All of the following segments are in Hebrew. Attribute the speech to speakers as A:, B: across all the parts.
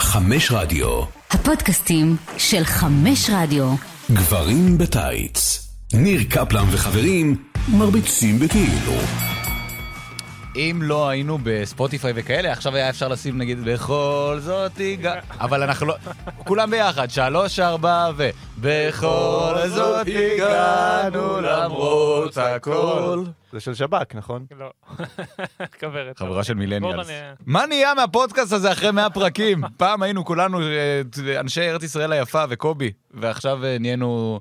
A: חמש רדיו.
B: הפודקאסטים של חמש רדיו.
A: גברים בטייץ. ניר קפלן וחברים מרביצים בכאילו.
C: אם לא היינו בספוטיפיי וכאלה, עכשיו היה אפשר לשים נגיד בכל זאתי גם... אבל אנחנו לא... כולם ביחד, שלוש, ארבע ו... בכל זאת הגענו למרות הכל.
D: זה של שב"כ, נכון?
E: לא, כוורת.
C: חבורה של מילניאלס.
E: בוא נ-
C: מה נהיה מהפודקאסט הזה אחרי 100 פרקים? פעם היינו כולנו אה, אנשי ארץ ישראל היפה וקובי, ועכשיו אה, נהיינו...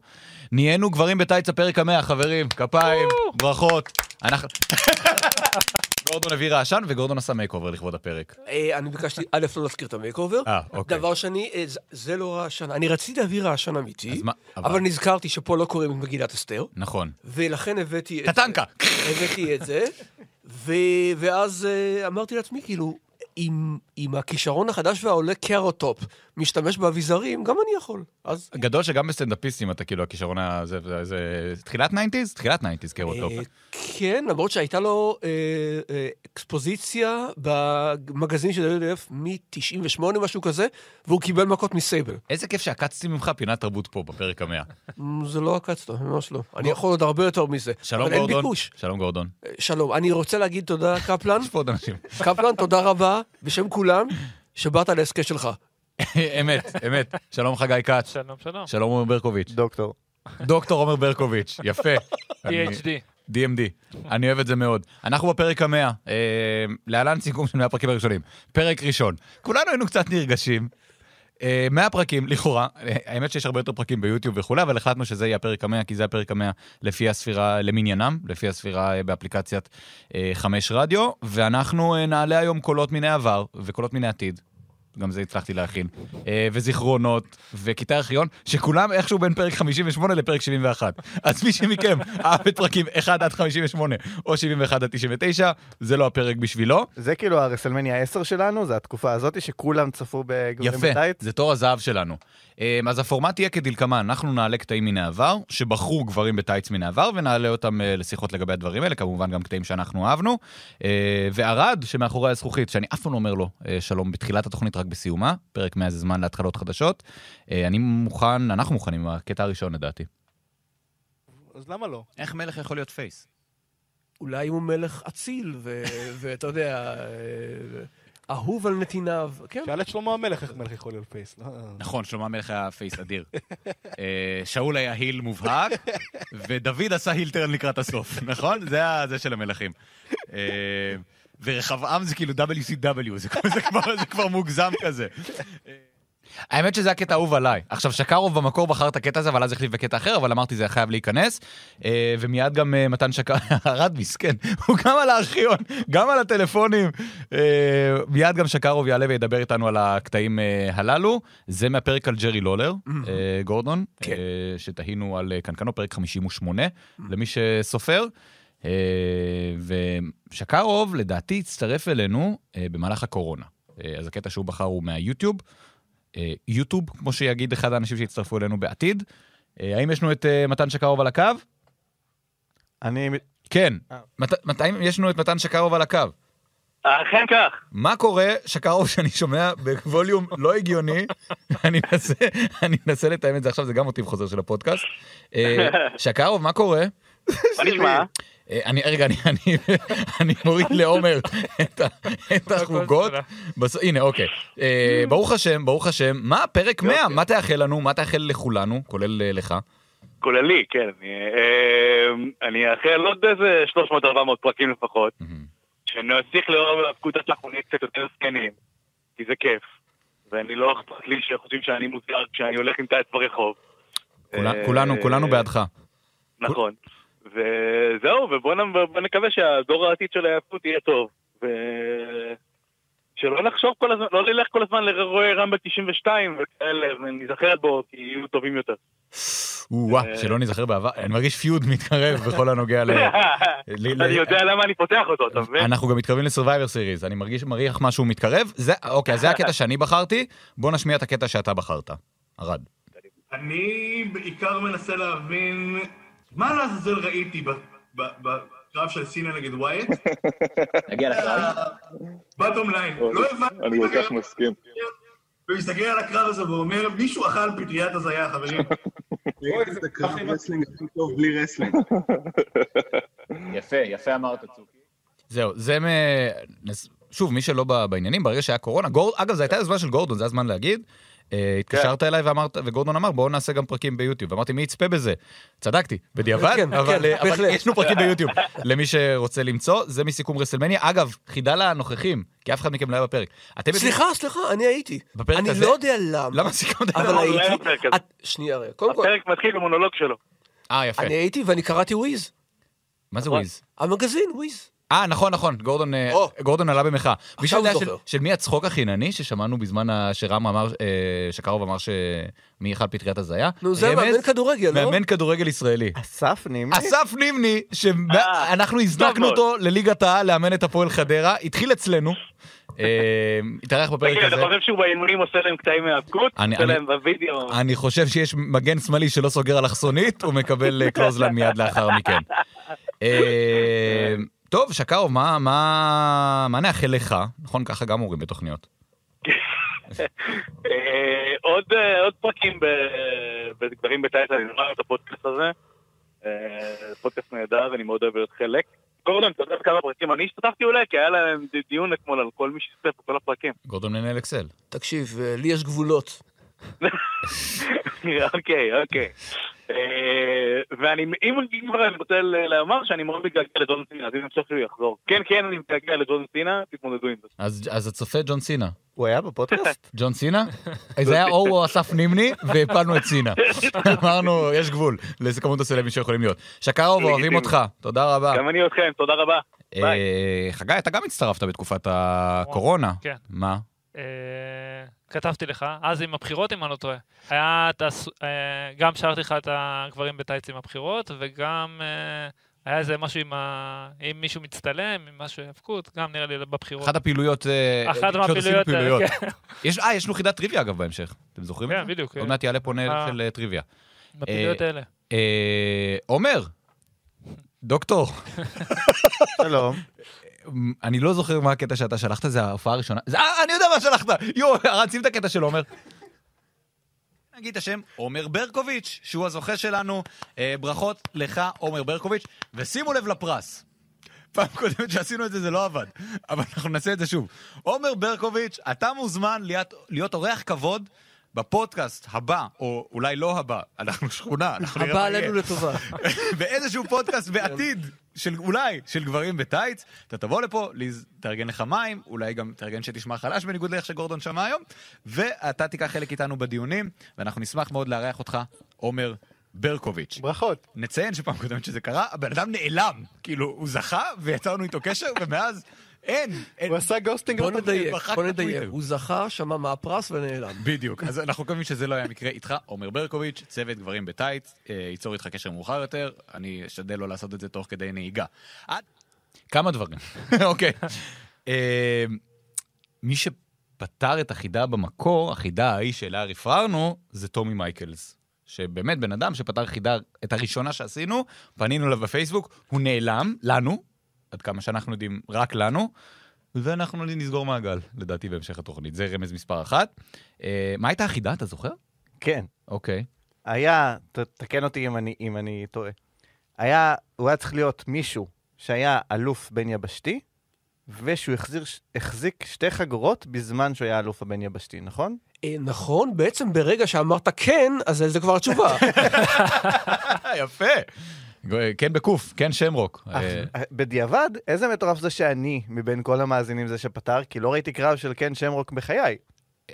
C: נהיינו גברים בטייץ הפרק המאה, חברים. כפיים, ברכות. אנחנו... גורדון הביא רעשן וגורדון עשה מייק אובר לכבוד הפרק.
F: אה, אני ביקשתי, א', לא להזכיר את המייק אובר.
C: אה, אוקיי.
F: דבר שני, אה, זה- זה לא רעשן. אני רציתי להביא רעשן אמיתי,
C: אז מה- אבל-
F: אבל נזכרתי שפה לא קוראים את מגילת אסתר,
C: נכון.
F: ולכן הבאתי את...
C: קטנקה.
F: הבאתי את זה, ו- ואז אה, אמרתי לעצמי, כאילו, אם אם הכישרון החדש והעולה קרוטופ משתמש באביזרים, גם אני יכול. אז...
C: גדול שגם בסטנדאפיסטים אתה כאילו הכישרון הזה, זה- זה תחילת ניינטיז? תחילת ניינטיז קרוטופ.
F: אה, כן, למרות שהייתה לו אה, אה, אקספוזיציה במגזין של WWF מ-98, משהו כזה, והוא קיבל מכות מסייבל.
C: איזה כיף שעקצתי ממך פינת תרבות פה בפרק המאה.
F: מ, זה לא עקצת, ממש לא. אני יכול עוד הרבה יותר מזה.
C: שלום
F: אבל אין
C: גורדון.
F: ביקוש.
C: שלום גורדון.
F: אה, שלום. אני רוצה להגיד תודה, קפלן.
C: יש פה עוד אנשים.
F: קפלן, תודה רבה, בשם כולם, שבאת להסכת שלך.
C: אמת, אמת. שלום חגי כץ.
E: שלום, שלום.
C: שלום עומר ברקוביץ'.
D: דוקטור.
C: דוקטור עומר ברקוביץ', יפה. אני-
E: PhD.
C: DMD. אני אוהב את זה מאוד. אנחנו בפרק המאה, אה, להלן סיכום של 100 הפרקים הראשונים. פרק ראשון, כולנו היינו קצת נרגשים. אה, 100 פרקים, לכאורה, אה, האמת שיש הרבה יותר פרקים ביוטיוב וכולי, אבל החלטנו שזה יהיה הפרק המאה, כי זה הפרק המאה לפי הספירה למניינם, לפי הספירה אה, באפליקציית אה, חמש רדיו, ואנחנו אה, נעלה היום קולות מן העבר וקולות מן העתיד. גם זה הצלחתי להכין, אה, וזיכרונות, וכיתה ארכיון, שכולם איכשהו בין פרק 58 לפרק 71. אז מי שמכם אהב את פרקים 1 עד 58 או 71 עד 99, זה לא הפרק בשבילו.
D: זה כאילו הרסלמניה 10 שלנו, זה התקופה הזאת שכולם צפו בגברים
C: יפה,
D: בטייץ.
C: זה תור הזהב שלנו. אמ, אז הפורמט יהיה כדלקמן, אנחנו נעלה קטעים מן העבר, שבחרו גברים בטייץ מן העבר, ונעלה אותם אה, לשיחות לגבי הדברים האלה, כמובן גם קטעים שאנחנו אהבנו. אה, וערד, שמאחורי הזכוכית, שאני אף פעם לא אומר לו אה, שלום בתחילת התוכנית, רק בסיומה, פרק 100 זה זמן להתחלות חדשות. אה, אני מוכן, אנחנו מוכנים עם הקטע הראשון לדעתי.
D: אז למה לא?
C: איך מלך יכול להיות פייס?
F: אולי הוא מלך אציל, ו- ואתה יודע, אה, אהוב על נתיניו. כן,
G: שאל את שלמה המלך איך מלך יכול להיות פייס. לא?
C: נכון, שלמה המלך היה פייס אדיר. אה, שאול היה היל מובהק, ודוד עשה היל טרן לקראת הסוף, נכון? זה ה- זה של המלכים. אה, ורחבעם זה כאילו WCW, זה כבר- זה כבר- זה כבר מוגזם כזה. אה, האמת שזה הקטע האהוב עליי. עכשיו, שקרוב במקור בחר את הקטע הזה, אבל אז החליף בקטע אחר, אבל אמרתי, זה חייב להיכנס. אה, ומיד גם אה, מתן שקר, ירד מסכן, הוא גם על הארכיון, גם על הטלפונים. אה, מיד גם שקרוב יעלה וידבר איתנו על הקטעים אה, הללו. זה מהפרק על ג'רי לולר, אה, גורדון,
F: כן.
C: אה, שתהינו על אה, קנקנו, פרק 58, למי שסופר. אה, ושקרוב, לדעתי, הצטרף אלינו אה, במהלך הקורונה. אה, אז הקטע שהוא בחר הוא מהיוטיוב. אה, יוטיוב, כמו שיגיד אחד האנשים שיצטרפו אלינו בעתיד. אה, האם יש לנו את אה, מתן שקרוב על הקו?
D: אני...
C: כן. מת- מתי יש לנו את מתן שקרוב על הקו?
H: אכן כך.
C: מה קורה, שקרוב, שאני שומע בווליום לא הגיוני, אני מנסה- אני מנסה לתאם את זה עכשיו, זה גם מוטיב חוזר של הפודקאסט. אה, שקרוב, מה קורה?
H: מה נשמע?
C: אה, אני, רגע, אני, אני, אני מוריד לעומר את, ה- את החוגות. בס... הנה, אוקיי. אה, ברוך השם, ברוך השם. מה, פרק 100, מה תאחל לנו? מה תאחל לכולנו, כולל אה, לך?
H: כולל לי, כן. אני, אה, אני אאחל עוד איזה 300-400 פרקים לפחות, שנוסיך לאור הפקודה שאנחנו נהיה קצת יותר זקנים, כי זה כיף. ואני לא אכפת לי שחושבים שאני מוזר כשאני הולך עם טייס ברחוב.
C: כולה-
H: אה,
C: כולנו, כולנו בעדך.
H: נכון. וזהו, ובוא נ- בוא נקווה שהדור העתיד של היהדות יהיה טוב. ו... שלא נחשוב כל הזמן, לא נלך כל הזמן לרואה רמבל 92 וכאלה, וניזכר בו כי יהיו טובים יותר.
C: וואו, שלא ניזכר בעבר, אני מרגיש פיוד מתקרב בכל הנוגע ל... אה, ל-
H: אני יודע למה אני פותח אותו, אתה מבין?
C: אנחנו גם מתקרבים לסרווייבר סיריז, אני מרגיש מריח משהו מתקרב. זה, אוקיי, אז זה הקטע שאני בחרתי, בוא נשמיע את הקטע שאתה בחרת. ארד.
I: אני בעיקר מנסה להבין מה לעזאזל ראיתי ב- ב- בקרב של סינה נגד ווייט.
J: נגיע לקרב.
I: בטום ליין, אה, לא הבנתי
J: אני
I: מה
J: כל כך
I: קרה
J: מסכים.
I: ומסתכל על הקרב הזה ואומר, מישהו אכל פטריית הזיה, חברים.
G: אוי, זה
J: קרב
G: ככה עם
J: רסלינג הכי טוב בלי רסלינג.
K: יפה, יפה אמרת, צוקי.
C: זהו, זה מ... נס- שוב, מי שלא ב- בעניינים, ברגע שהיה קורונה, גור... אגב, זו הייתה יוזמה של גורדון, זה הזמן להגיד. אה,
F: כן.
C: התקשרת אליי ואמרת, וגורדון אמר, בואו נעשה גם פרקים ביוטיוב. ואמרתי, מי יצפה בזה? צדקתי, בדיעבד,
F: כן,
C: אבל
F: כן,
C: אה, אבל
F: בהחלט.
C: יש לנו פרקים ביוטיוב. למי שרוצה למצוא, זה מסיכום רסלמניה. אגב, חידה לנוכחים, כי אף אחד מכם לא היה בפרק. אתם יודעים-
F: סליחה, סליחה, אני הייתי.
C: בפרק
F: אני
C: הזה-
F: לא יודע למה,
C: למה סיכמת?
F: אבל
H: לא, לא היה
F: הייתי.
H: בפרק הזה.
F: את- שנייה, רגע. קודם כל,
H: הפרק מתחיל במונולוג שלו.
C: אה, יפה.
F: אני הייתי ואני קראתי וויז.
C: מה
H: נכון.
C: זה וויז?
F: המגזין, וויז.
C: אה, נכון, נכון, גורדון, אה,
F: או.
C: גורדון עלה במחאה. מישהו יודע
F: זוכר.
C: של, של מי הצחוק החינני ששמענו בזמן ה- שרם אמר, אה, שקרוב אמר שמי אכל פטריית הזיה?
F: נו, זה
C: רמז?
F: מאמן כדורגל, לא?
C: מאמן כדורגל ישראלי.
D: אסף נימני?
C: אסף נימני, שאנחנו הזנקנו
H: אה, מאוד.
C: אותו לליגת העל לאמן את הפועל חדרה, התחיל אצלנו, אה, התארח בפרק
H: תגיד, אתה
C: הזה.
H: חושב שהוא באימונים עושה להם קטעים מהאבקות?
C: אני-
H: עושה
C: אני-
H: להם בווידאו?
C: אני חושב שיש מגן שמאלי שלא סוגר אלכסונית, הוא מקבל אה, קלוזלן מיד לאחר מכן. אה, טוב, שקרוב, מה- מה מה נאחל לך? נכון, ככה גם אומרים בתוכניות.
H: אה, עוד אה, עוד פרקים ב- בגברים בטייטל, אני נורא אוהב את הפודקאסט הזה. אה, פודקאסט נהדר, אני מאוד אוהב להיות חלק. גורדון, אתה יודע כמה פרקים אני השתתפתי אולי? כי היה להם ד- דיון אתמול על כל מי שהשתתף בכל הפרקים.
C: גורדון מנהל אקסל.
F: תקשיב, אה, לי יש גבולות.
H: אוקיי, אוקיי. אה, ואני, אם אם כבר אני רוצה ל- לומר שאני מאוד מתגעגע לג'ון סינה, אז אם אפשר שהוא יחזור. כן, כן, אני מתגעגע לג'ון סינה, תתמודדו עם זה.
C: אז, אז הצופה ג'ון סינה.
D: הוא היה בפודקאסט?
C: ג'ון סינה? זה היה או הוא אסף נימני, והפלנו את סינה. אמרנו, יש גבול לאיזה כמות הסלבים שיכולים להיות. שקרוב, אוהבים
H: לגיטימי.
C: אותך, תודה רבה.
H: גם אני אתכם, תודה רבה.
C: אה,
H: ביי.
C: חגי, אתה גם הצטרפת בתקופת הקורונה.
E: כן.
C: מה?
E: אה, כתבתי לך, אז עם הבחירות, אם אני לא טועה. היה את הס... אה, גם שרתי לך את הגברים בטייץ עם הבחירות, וגם אה, היה איזה משהו עם ה... אם מישהו מצטלם, עם משהו היאבקות, גם נראה לי בבחירות.
C: אחת הפעילויות... אה,
E: אחת
C: שעוד עשינו
E: מהפעילויות,
C: פעילויות.
E: אה, כן.
C: יש- אה, יש לנו חידת טריוויה אגב בהמשך. אתם זוכרים?
E: כן,
C: את זה?
E: בדיוק,
C: עוד
E: אה.
C: מעט יעלה פה נהל
E: אה.
C: של אה, טריוויה.
E: בפעילויות
C: אה,
E: האלה.
C: אה, עומר, דוקטור, אה,
D: שלום.
C: אני לא זוכר מה הקטע שאתה שלחת, זה ההופעה הראשונה. זה- אה, אני יודע מה שלחת! יואו, רצים את הקטע של עומר. נגיד את השם, עומר ברקוביץ', שהוא הזוכה שלנו. אה, ברכות לך, עומר ברקוביץ', ושימו לב לפרס. פעם קודמת שעשינו את זה, זה לא עבד, אבל אנחנו נעשה את זה שוב. עומר ברקוביץ', אתה מוזמן להיות, להיות אורח כבוד בפודקאסט הבא, או אולי לא הבא, אנחנו שכונה, אנחנו נראה
F: הבא
C: מה יהיה.
F: עלינו לטובה.
C: באיזשהו פודקאסט בעתיד, של אולי, של גברים בטייץ, אתה תבוא לפה, ליז, תארגן לך מים, אולי גם תארגן שתשמע חלש בניגוד לאיך שגורדון שמע היום, ואתה תיקח חלק איתנו בדיונים, ואנחנו נשמח מאוד לארח אותך, עומר ברקוביץ'.
G: ברכות.
C: נציין שפעם קודמת שזה קרה, הבן אדם נעלם. כאילו, הוא זכה, ויצרנו איתו קשר, ומאז אין. אין.
G: הוא עשה גוסטינג
F: בוא
G: לתוכנית.
F: נדייק,
C: מחק
F: בוא
C: את הטוויטר.
F: נדייק. הוא זכה, שמע מה הפרס ונעלם.
C: נכון, בדיוק, אז אנחנו מקווים שזה לא היה מקרה איתך, עומר ברקוביץ', צוות גברים בטייץ, אה, ייצור איתך קשר מאוחר יותר, אני אשתדל לא לעשות את זה תוך כדי נהיגה. עד- כמה דברים, אוקיי. אה, מי שפתר את החידה במקור, החידה ההיא שאליה רפררנו, זה טומי מייקלס. שבאמת בן אדם שפתר חידה, את הראשונה שעשינו, פנינו אליו בפייסבוק, הוא נעלם, לנו, עד כמה שאנחנו יודעים, רק לנו, ואנחנו נסגור מעגל, לדעתי, בהמשך התוכנית. זה רמז מספר אחת. אה, מה הייתה החידה, אתה זוכר?
D: כן.
C: אוקיי.
D: היה, ת, תקן אותי אם אני, אם אני טועה. היה, הוא היה צריך להיות מישהו שהיה אלוף בין יבשתי, ושהוא החזיר, החזיק שתי חגורות בזמן שהוא היה אלוף הבין יבשתי, נכון?
F: אה, נכון, בעצם ברגע שאמרת כן, אז זה כבר התשובה. אה,
C: יפה. גו- כן בקוף, כן שמרוק. אה,
D: אך- בדיעבד, איזה מטורף זה שאני מבין כל המאזינים זה שפתר, כי לא ראיתי קרב של קן שמרוק בחיי.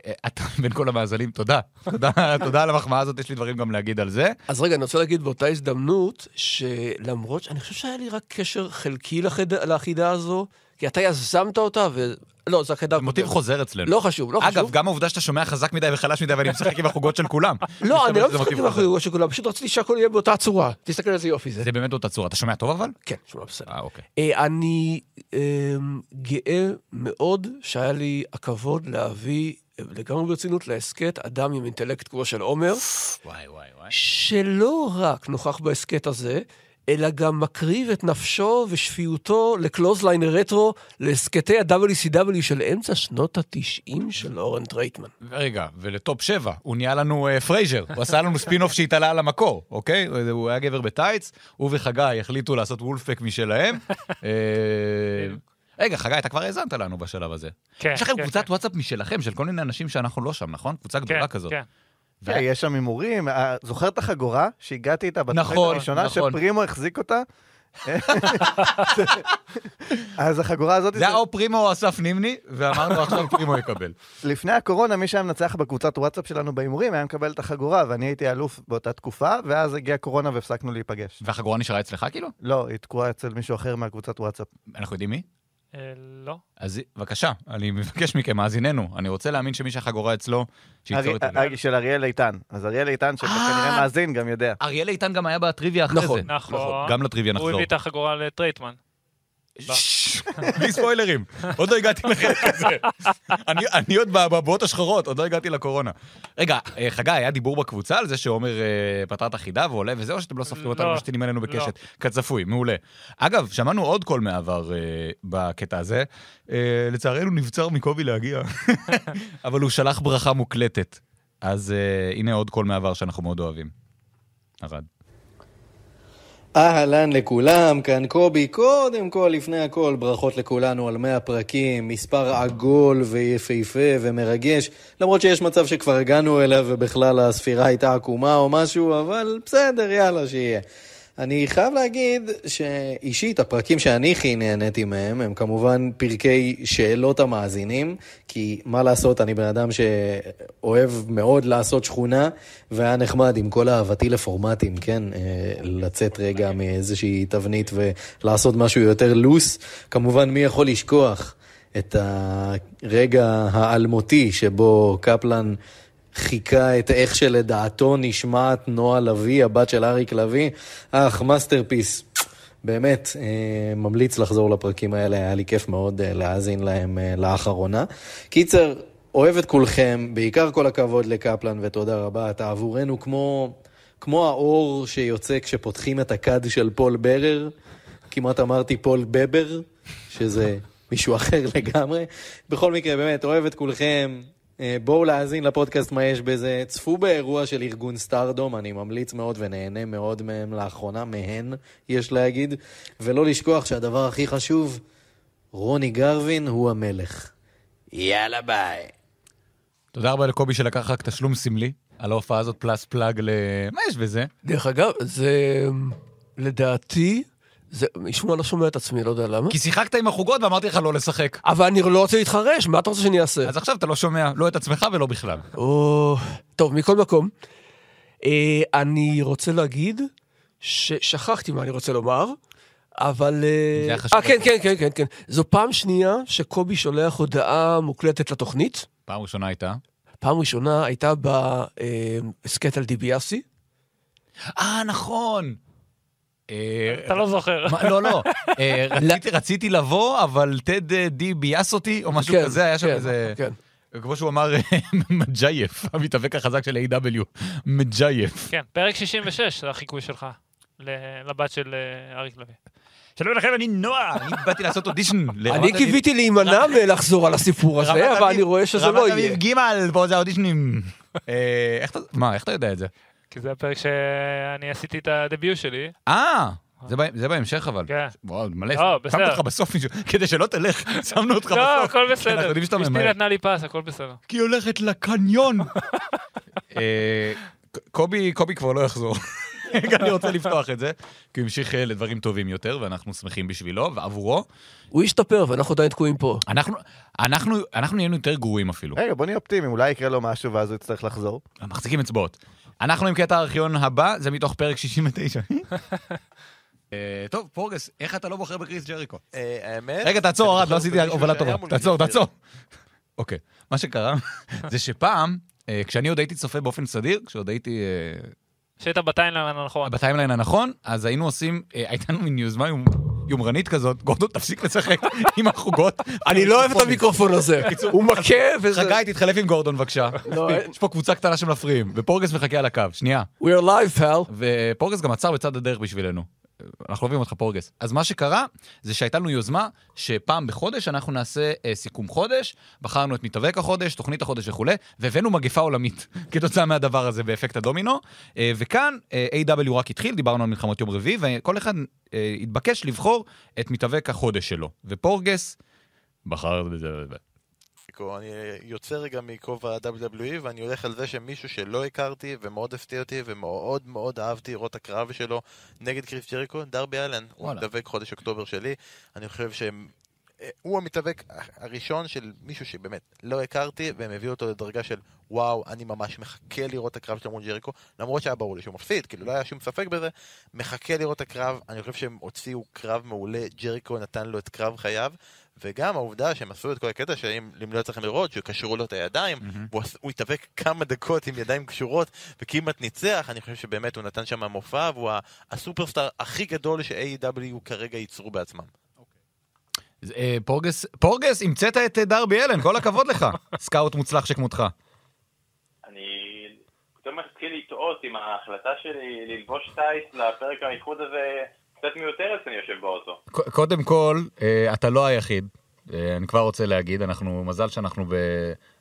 C: אה, אתה בין כל המאזלים, תודה. תודה תודה על המחמאה הזאת, יש לי דברים גם להגיד על זה.
F: אז רגע, אני רוצה להגיד באותה הזדמנות, שלמרות שאני חושב שהיה לי רק קשר חלקי לחד- לחידה הזו, כי אתה יזמת אותה, ו... לא, זו החידה...
C: זה מוטיב
F: הקודמת.
C: חוזר אצלנו.
F: לא חשוב, לא חשוב.
C: אגב, גם העובדה שאתה שומע חזק מדי וחלש מדי, ואני משחק עם החוגות של כולם.
F: לא, אני
C: מסתבר
F: לא
C: שזה
F: משחק
C: מוטיב
F: עם
C: חוזר.
F: החגורה של כולם, פשוט רציתי שהכל יהיה באותה צורה. תסתכל איזה יופי זה.
C: זה באמת אותה צורה. אתה שומע טוב אבל?
F: כן, שמע, בסדר.
C: אה, אוקיי.
F: אה, אני אה, גאה מאוד שהיה לי הכבוד להביא אה, לגמרי ברצינות להסכת אדם עם אינטלקט כמו של עומר,
C: וואי, וואי, וואי.
F: שלא רק נוכח בהסכת הזה, אלא גם מקריב את נפשו ושפיותו לקלוזליין רטרו, להסכתי ה-WCW של אמצע שנות ה-90 של אורן טרייטמן.
C: רגע, ולטופ 7, הוא נהיה לנו אה, פרייזר, הוא עשה לנו ספינוף שהתעלה על המקור, אוקיי? הוא- הוא היה גבר בטייץ, הוא וחגי החליטו לעשות וולפק משלהם. אה, רגע, חגי, אתה כבר האזנת לנו בשלב הזה.
E: כן,
C: יש לכם
E: כן,
C: קבוצת וואטסאפ משלכם, של כל מיני אנשים שאנחנו לא שם, נכון? קבוצה גדולה כזאת.
D: כן, יש שם הימורים, אה, זוכר את החגורה שהגעתי איתה בתוכנית
C: נכון,
D: הראשונה,
C: נכון.
D: שפרימו החזיק אותה? אז החגורה הזאת...
C: זה היה או פרימו או אסף נימני, ואמרנו עכשיו פרימו יקבל.
D: לפני הקורונה, מי שהיה מנצח בקבוצת וואטסאפ שלנו בהימורים, היה מקבל את החגורה, ואני הייתי אלוף באותה תקופה, ואז הגיעה קורונה והפסקנו להיפגש.
C: והחגורה נשארה אצלך כאילו?
D: לא, היא תקועה אצל מישהו אחר מהקבוצת וואטסאפ.
C: אנחנו יודעים מי?
E: אה, לא.
C: אז בבקשה, אני מבקש מכם, מאזיננו, אני רוצה להאמין שמי שהחגורה אצלו,
D: ארי-
C: שייצור את אה!
D: אה, של אריאל איתן. אז אריאל איתן, שכנראה מאזין, גם יודע.
C: אריאל איתן גם היה בטריוויה אחרי
D: נכון,
C: זה.
E: נכון.
C: גם לטריוויה
E: הוא
C: נחזור.
E: הביא את החגורה לטרייטמן.
C: בלי ספוילרים, עוד לא הגעתי לחלק הזה. אני, אני עוד בבועות השחורות, עוד לא הגעתי לקורונה. רגע, אה, חגי, היה דיבור בקבוצה על זה שעומר אה, פתר את החידה ועולה וזה, או שאתם לא סופרים אותנו
E: לא,
C: ושתינים עלינו
E: לא.
C: בקשת? כצפוי, מעולה. אגב, שמענו עוד קול מהעבר אה, בקטע הזה. אה, לצערנו נבצר מקובי להגיע, אבל הוא שלח ברכה מוקלטת. אז אה, הנה עוד קול מהעבר שאנחנו מאוד אוהבים. ארד.
J: אהלן לכולם, כאן קובי. קודם כל, לפני הכל, ברכות לכולנו על 100 פרקים, מספר עגול ויפהפה ומרגש, למרות שיש מצב שכבר הגענו אליו ובכלל הספירה הייתה עקומה או משהו, אבל בסדר, יאללה, שיהיה. אני חייב להגיד שאישית, הפרקים שאני הכי נהניתי מהם הם כמובן פרקי שאלות המאזינים, כי מה לעשות, אני בן אדם שאוהב מאוד לעשות שכונה, והיה נחמד עם כל אהבתי לפורמטים, כן? אה, לצאת רגע מאיזושהי תבנית ולעשות משהו יותר לוס. כמובן, מי יכול לשכוח את הרגע האלמותי שבו קפלן... חיכה את איך שלדעתו נשמעת נועה לביא, הבת של אריק לביא. אך, מאסטרפיס. באמת, אה, ממליץ לחזור לפרקים האלה, היה לי כיף מאוד אה, להאזין להם אה, לאחרונה. קיצר, אוהב את כולכם, בעיקר כל הכבוד לקפלן ותודה רבה, אתה עבורנו כמו, כמו האור שיוצא כשפותחים את הכד של פול ברר, כמעט אמרתי פול בבר, שזה מישהו אחר לגמרי. בכל מקרה, באמת, אוהב את כולכם. אה, בואו להאזין לפודקאסט מה יש בזה. צפו באירוע של ארגון סטארדום, אני ממליץ מאוד ונהנה מאוד מהם לאחרונה, מהן, יש להגיד. ולא לשכוח שהדבר הכי חשוב, רוני גרווין הוא המלך. יאללה ביי.
C: תודה רבה לקובי שלקח רק תשלום סמלי על ההופעה הזאת פלאס פלאג ל... מה יש בזה?
F: דרך אגב, זה... לדעתי, זה... משום מה לא שומע את עצמי, לא יודע למה.
C: כי שיחקת עם החוגות ואמרתי לך לא לשחק.
F: אבל אני לא רוצה להתחרש, מה אתה רוצה שאני אעשה?
C: אז עכשיו אתה לא שומע, לא את עצמך ולא בכלל.
F: או... טוב, מכל מקום, אה, אני רוצה להגיד ששכחתי מה אני רוצה לומר, אבל... אה,
C: זה היה חשוב
F: אה, כן, כן, כן, כן, כן. זו פעם שנייה שקובי שולח הודעה מוקלטת לתוכנית.
C: פעם ראשונה הייתה.
F: פעם ראשונה הייתה בהסכת על דיביאסי.
C: אה, נכון. אה,
E: אתה לא זוכר.
C: מה, לא, לא. אה, רציתי- רציתי לבוא, אבל טד אה, די ביאס אותי, או משהו
F: כן,
C: כזה, היה שם
F: כן,
C: איזה...
F: כן.
C: כמו שהוא אמר, מג'ייף, המתאבק החזק של A.W. מג'ייף.
E: כן, פרק 66, זה החיקוי שלך, ל- לבת של אה, אריק לוי.
C: שלום לכם, אני נועה, אני באתי לעשות אודישן.
F: אני קיוויתי להימנע מלחזור על הסיפור הזה, אבל אני רואה שזה לא
C: רמת
F: יהיה.
C: אביב ג' פה זה האודישנים. אה, איך אתה... מה, איך אתה יודע את זה?
E: כי זה הפרק שאני עשיתי את הדביוט שלי.
C: אה, זה בה- זה בהמשך אבל.
E: כן.
C: וואו, מלא.
E: לא, בסדר.
C: שמנו אותך בסוף, מישהו- כדי שלא תלך, שמנו אותך בסוף.
E: לא, הכל
C: כי אנחנו
E: בסדר.
C: יודעים שאתה
E: אשתי
C: ממהר.
E: נתנה לי פס, הכל בסדר.
C: כי היא הולכת לקניון. אה, ק- קובי, קובי כבר לא יחזור. אני רוצה לפתוח את זה, כי הוא המשיך אה, לדברים טובים יותר, ואנחנו שמחים בשבילו ועבורו.
F: הוא השתפר, ואנחנו עדיין תקועים פה.
C: אנחנו אנחנו- אנחנו נהיינו יותר גרועים אפילו.
D: רגע, בוא נהיה אופטימיים, אולי יקרה לו משהו ואז הוא יצטרך לחזור.
C: מחזיקים אצבעות. אנחנו עם קטע הארכיון הבא, זה מתוך פרק 69. אה, טוב, פורגס, איך אתה לא בוחר בקריס ג'ריקו?
L: אה, האמת?
C: רגע,
L: אני
C: תעצור, ארד,
L: בוחר
C: לא עשיתי
L: במישהו
C: הובלה
L: שהיה
C: טובה.
L: מולי
C: תעצור,
L: בסדר.
C: תעצור. אוקיי, מה שקרה זה שפעם, אה, כשאני עוד הייתי צופה באופן סדיר, כשעוד הייתי אה,
E: שהיית בטיינליין הנכון.
C: בטיימליין הנכון, אז היינו עושים, אה, הייתה לנו מין יוזמה יומ- יומרנית כזאת, גורדון, תפסיק לשחק עם החוגות.
F: אני לא אוהב את המיקרופון הזה.
C: בקיצור,
F: הוא מכה וזה...
C: חגי, תתחלף עם גורדון בבקשה.
F: לא,
C: "אה, מספיק. יש פה קבוצה קטנה שמפריעים, ופורגס מחכה על הקו, שנייה.
F: We are live, pal.
C: ופורגס גם עצר בצד הדרך בשבילנו. אנחנו אוהבים אותך פורגס. אז מה שקרה, זה שהייתה לנו יוזמה שפעם בחודש אנחנו נעשה אה, סיכום חודש, בחרנו את מתאבק החודש, תוכנית החודש וכולי, והבאנו מגפה עולמית כתוצאה מהדבר הזה באפקט הדומינו. אה, וכאן אה, A.W. רק התחיל, דיברנו על מלחמות יום רביעי, וכל אחד אה, התבקש לבחור את מתאבק החודש שלו. ופורגס בחר...
L: מקסיקו. אני יוצא רגע מכובע ה-WWE ואני הולך על זה שמישהו שלא הכרתי ומאוד הפתיע אותי ומאוד מאוד אהבתי לראות את הקרב שלו נגד קריס ג'ריקו, דרבי אלן. הוא
K: וואלה.
L: מתאבק חודש אוקטובר שלי. אני חושב שהם... אה, הוא המתאבק הראשון של מישהו שבאמת לא הכרתי והם הביאו אותו לדרגה של וואו, אני ממש מחכה לראות את הקרב שלו מול ג'ריקו למרות שהיה ברור לי שהוא מפסיד, כאילו לא היה שום ספק בזה מחכה לראות את הקרב, אני חושב שהם הוציאו קרב מעולה, ג'ריקו נתן לו את קרב חייו וגם העובדה שהם עשו את כל הקטע שאם אם לא יצא לכם לראות, שקשרו לו את הידיים, הוא עש- הוא התאבק כמה דקות עם ידיים קשורות וכמעט ניצח, אני חושב שבאמת הוא נתן שם מופע והוא ה- הסופרסטאר הכי גדול ש-AW כרגע ייצרו בעצמם.
C: אה, פורגס, פורגס, המצאת את אה, דרבי אלן, כל הכבוד לך. סקאוט מוצלח שכמותך.
M: אני פתאום מתחיל לטעות עם ההחלטה שלי ללבוש טייס לפרק האיחוד הזה, קצת מיותרת כשאני יושב באוטו.
C: ק- קודם כל, אה, אתה לא היחיד. אה, אני כבר רוצה להגיד, אנחנו, מזל שאנחנו ב...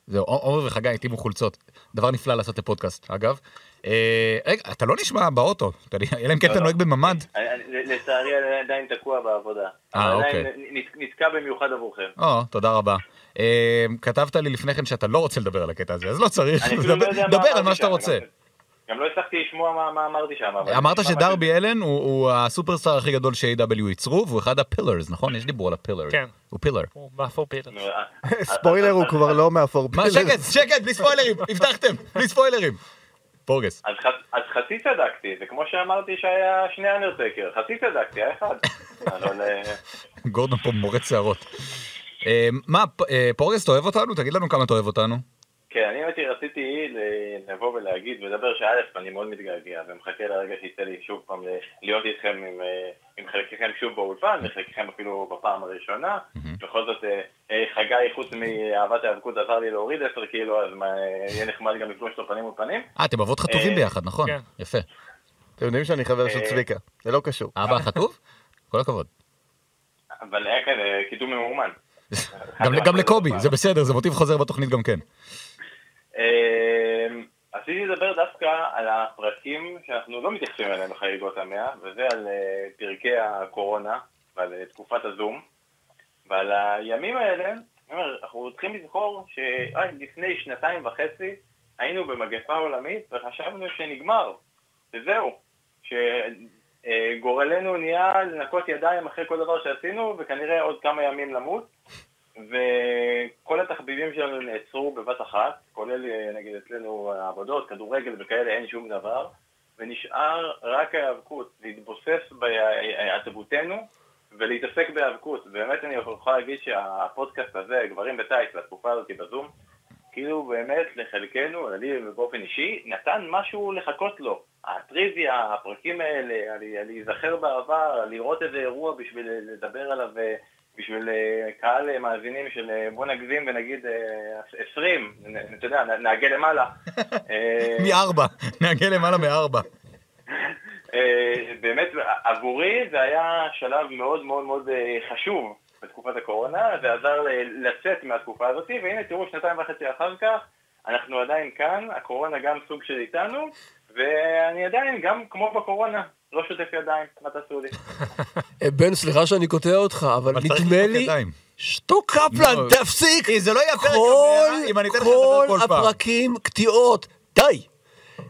C: זהו, עומר- עומר וחגי התאימו חולצות. דבר נפלא לעשות לפודקאסט, אגב. אה, רגע, אתה לא נשמע באוטו. אתה יודע, אלא אם כן
M: לא,
C: אתה
M: לא.
C: נוהג בממ"ד.
M: אני- אני- לצערי אני עדיין תקוע בעבודה.
C: אה,
M: אבל
C: אוקיי.
M: עדיין נ- נ- נתקע במיוחד עבורכם.
C: או, תודה רבה. אה, כתבת לי לפני כן שאתה לא רוצה לדבר על הקטע הזה, אז לא צריך.
M: אני אפילו לא
C: דבר-
M: יודע מה
C: דבר על
M: אמרתי
C: מה שאתה
M: שם,
C: רוצה.
M: גם לא הצלחתי לשמוע מה- מה אמרתי שם. אבל-
C: אמרת
M: נשמע
C: שדרבי אלן הוא- הוא הסופרסטאר הכי גדול ש-AW ייצרו, והוא אחד הפילרס, נכון? יש דיבור על הפילר.
E: כן.
C: הוא פילר.
E: הוא מאפור פילר.
M: אה.
N: ספוילר הוא כבר לא מאפור
C: אה! מה,
N: פילר.
C: אה, שקט, שקט, בלי ספוילרים, הבטחתם, בלי ספוילרים. פורגס.
M: אז ח- אז חצי צדקתי, זה כמו שאמרתי שהיה שני אנרטקר, חצי צדקתי, היה אחד. אבל אה,
C: גורדון פה מורד שערות. אה, מה, פ- אה, פורגס, אתה אוהב אותנו? תגיד לנו כמה אתה אוהב אותנו.
M: כן, אני הייתי רציתי ל- לבוא ולהגיד ולדבר שא', אני מאוד מתגעגע ומחכה לרגע שיצא לי שוב פעם ל- להיות איתכם עם, אה, עם חלקכם שוב באולפן, וחלקכם אפילו בפעם הראשונה. בכל זאת, אה, אה, חגי, חוץ מאהבת ההיאבקות, עזר לי להוריד 10 קילו, אז מה, אה, יהיה נחמד גם לפגוש אותו פנים מול פנים.
C: אה, אתם אבות חטובים
M: אה,
C: ביחד, נכון?
M: כן.
C: יפה.
N: אתם יודעים שאני חבר של
M: אה,
N: צביקה, זה לא קשור.
C: אבא חטוב? כל הכבוד.
M: אבל היה כאן אה, קידום ממומן.
C: גם- גם לקובי, זה בסדר, זה מוטיב חוזר בתוכנית גם כן.
M: אמ, רציתי לדבר דווקא על הפרקים שאנחנו לא מתייחסים אליהם בחגיגות המאה, וזה על אה, פרקי הקורונה, ועל אה, תקופת הזום, ועל הימים האלה, אני אומר, אנחנו צריכים לזכור שרק לפני שנתיים וחצי היינו במגפה עולמית וחשבנו שנגמר, שזהו, שגורלנו נהיה לנקות ידיים אחרי כל דבר שעשינו, וכנראה עוד כמה ימים למות. וכל התחביבים שלנו נעצרו בבת אחת, כולל אה, נגיד אצלנו העבודות, כדורגל וכאלה, אין שום דבר, ונשאר רק ההיאבקות, להתבוסס בעצבותנו ולהתעסק בהיאבקות. באמת אני יכול להגיד שהפודקאסט הזה, גברים בטייס, בתקופה הזאת בזום, כאילו באמת לחלקנו, לי באופן אישי, נתן משהו לחכות לו. הטריוויה, הפרקים האלה, על- על להיזכר בעבר, על לראות איזה אירוע בשביל אה, לדבר עליו, אה, בשביל אה, קהל אה, מאזינים של אה, בוא נגזים ונגיד אה, 20, נ- אתה יודע, נ- נעגל למעלה. אה,
C: מארבע, נעגל למעלה מארבע.
M: אה, באמת, עבורי זה היה שלב מאוד מאוד מאוד אה, חשוב בתקופת הקורונה, זה עזר ל- לצאת מהתקופה הזאת, והנה תראו שנתיים וחצי אחר כך, אנחנו עדיין כאן, הקורונה גם סוג של איתנו, ואני עדיין, גם כמו בקורונה, לא שוטף ידיים, מה תעשו לי?
F: אה, בן, סליחה שאני קוטע אותך, אבל נדמה לי... שתו קפלן,
C: לא.
F: תפסיק!
C: זה לא יהיה פרק
F: כל,
C: הבא, אם אני אתן לך
F: כל
C: לדבר כל פעם.
F: הפרקים קטיעות, די!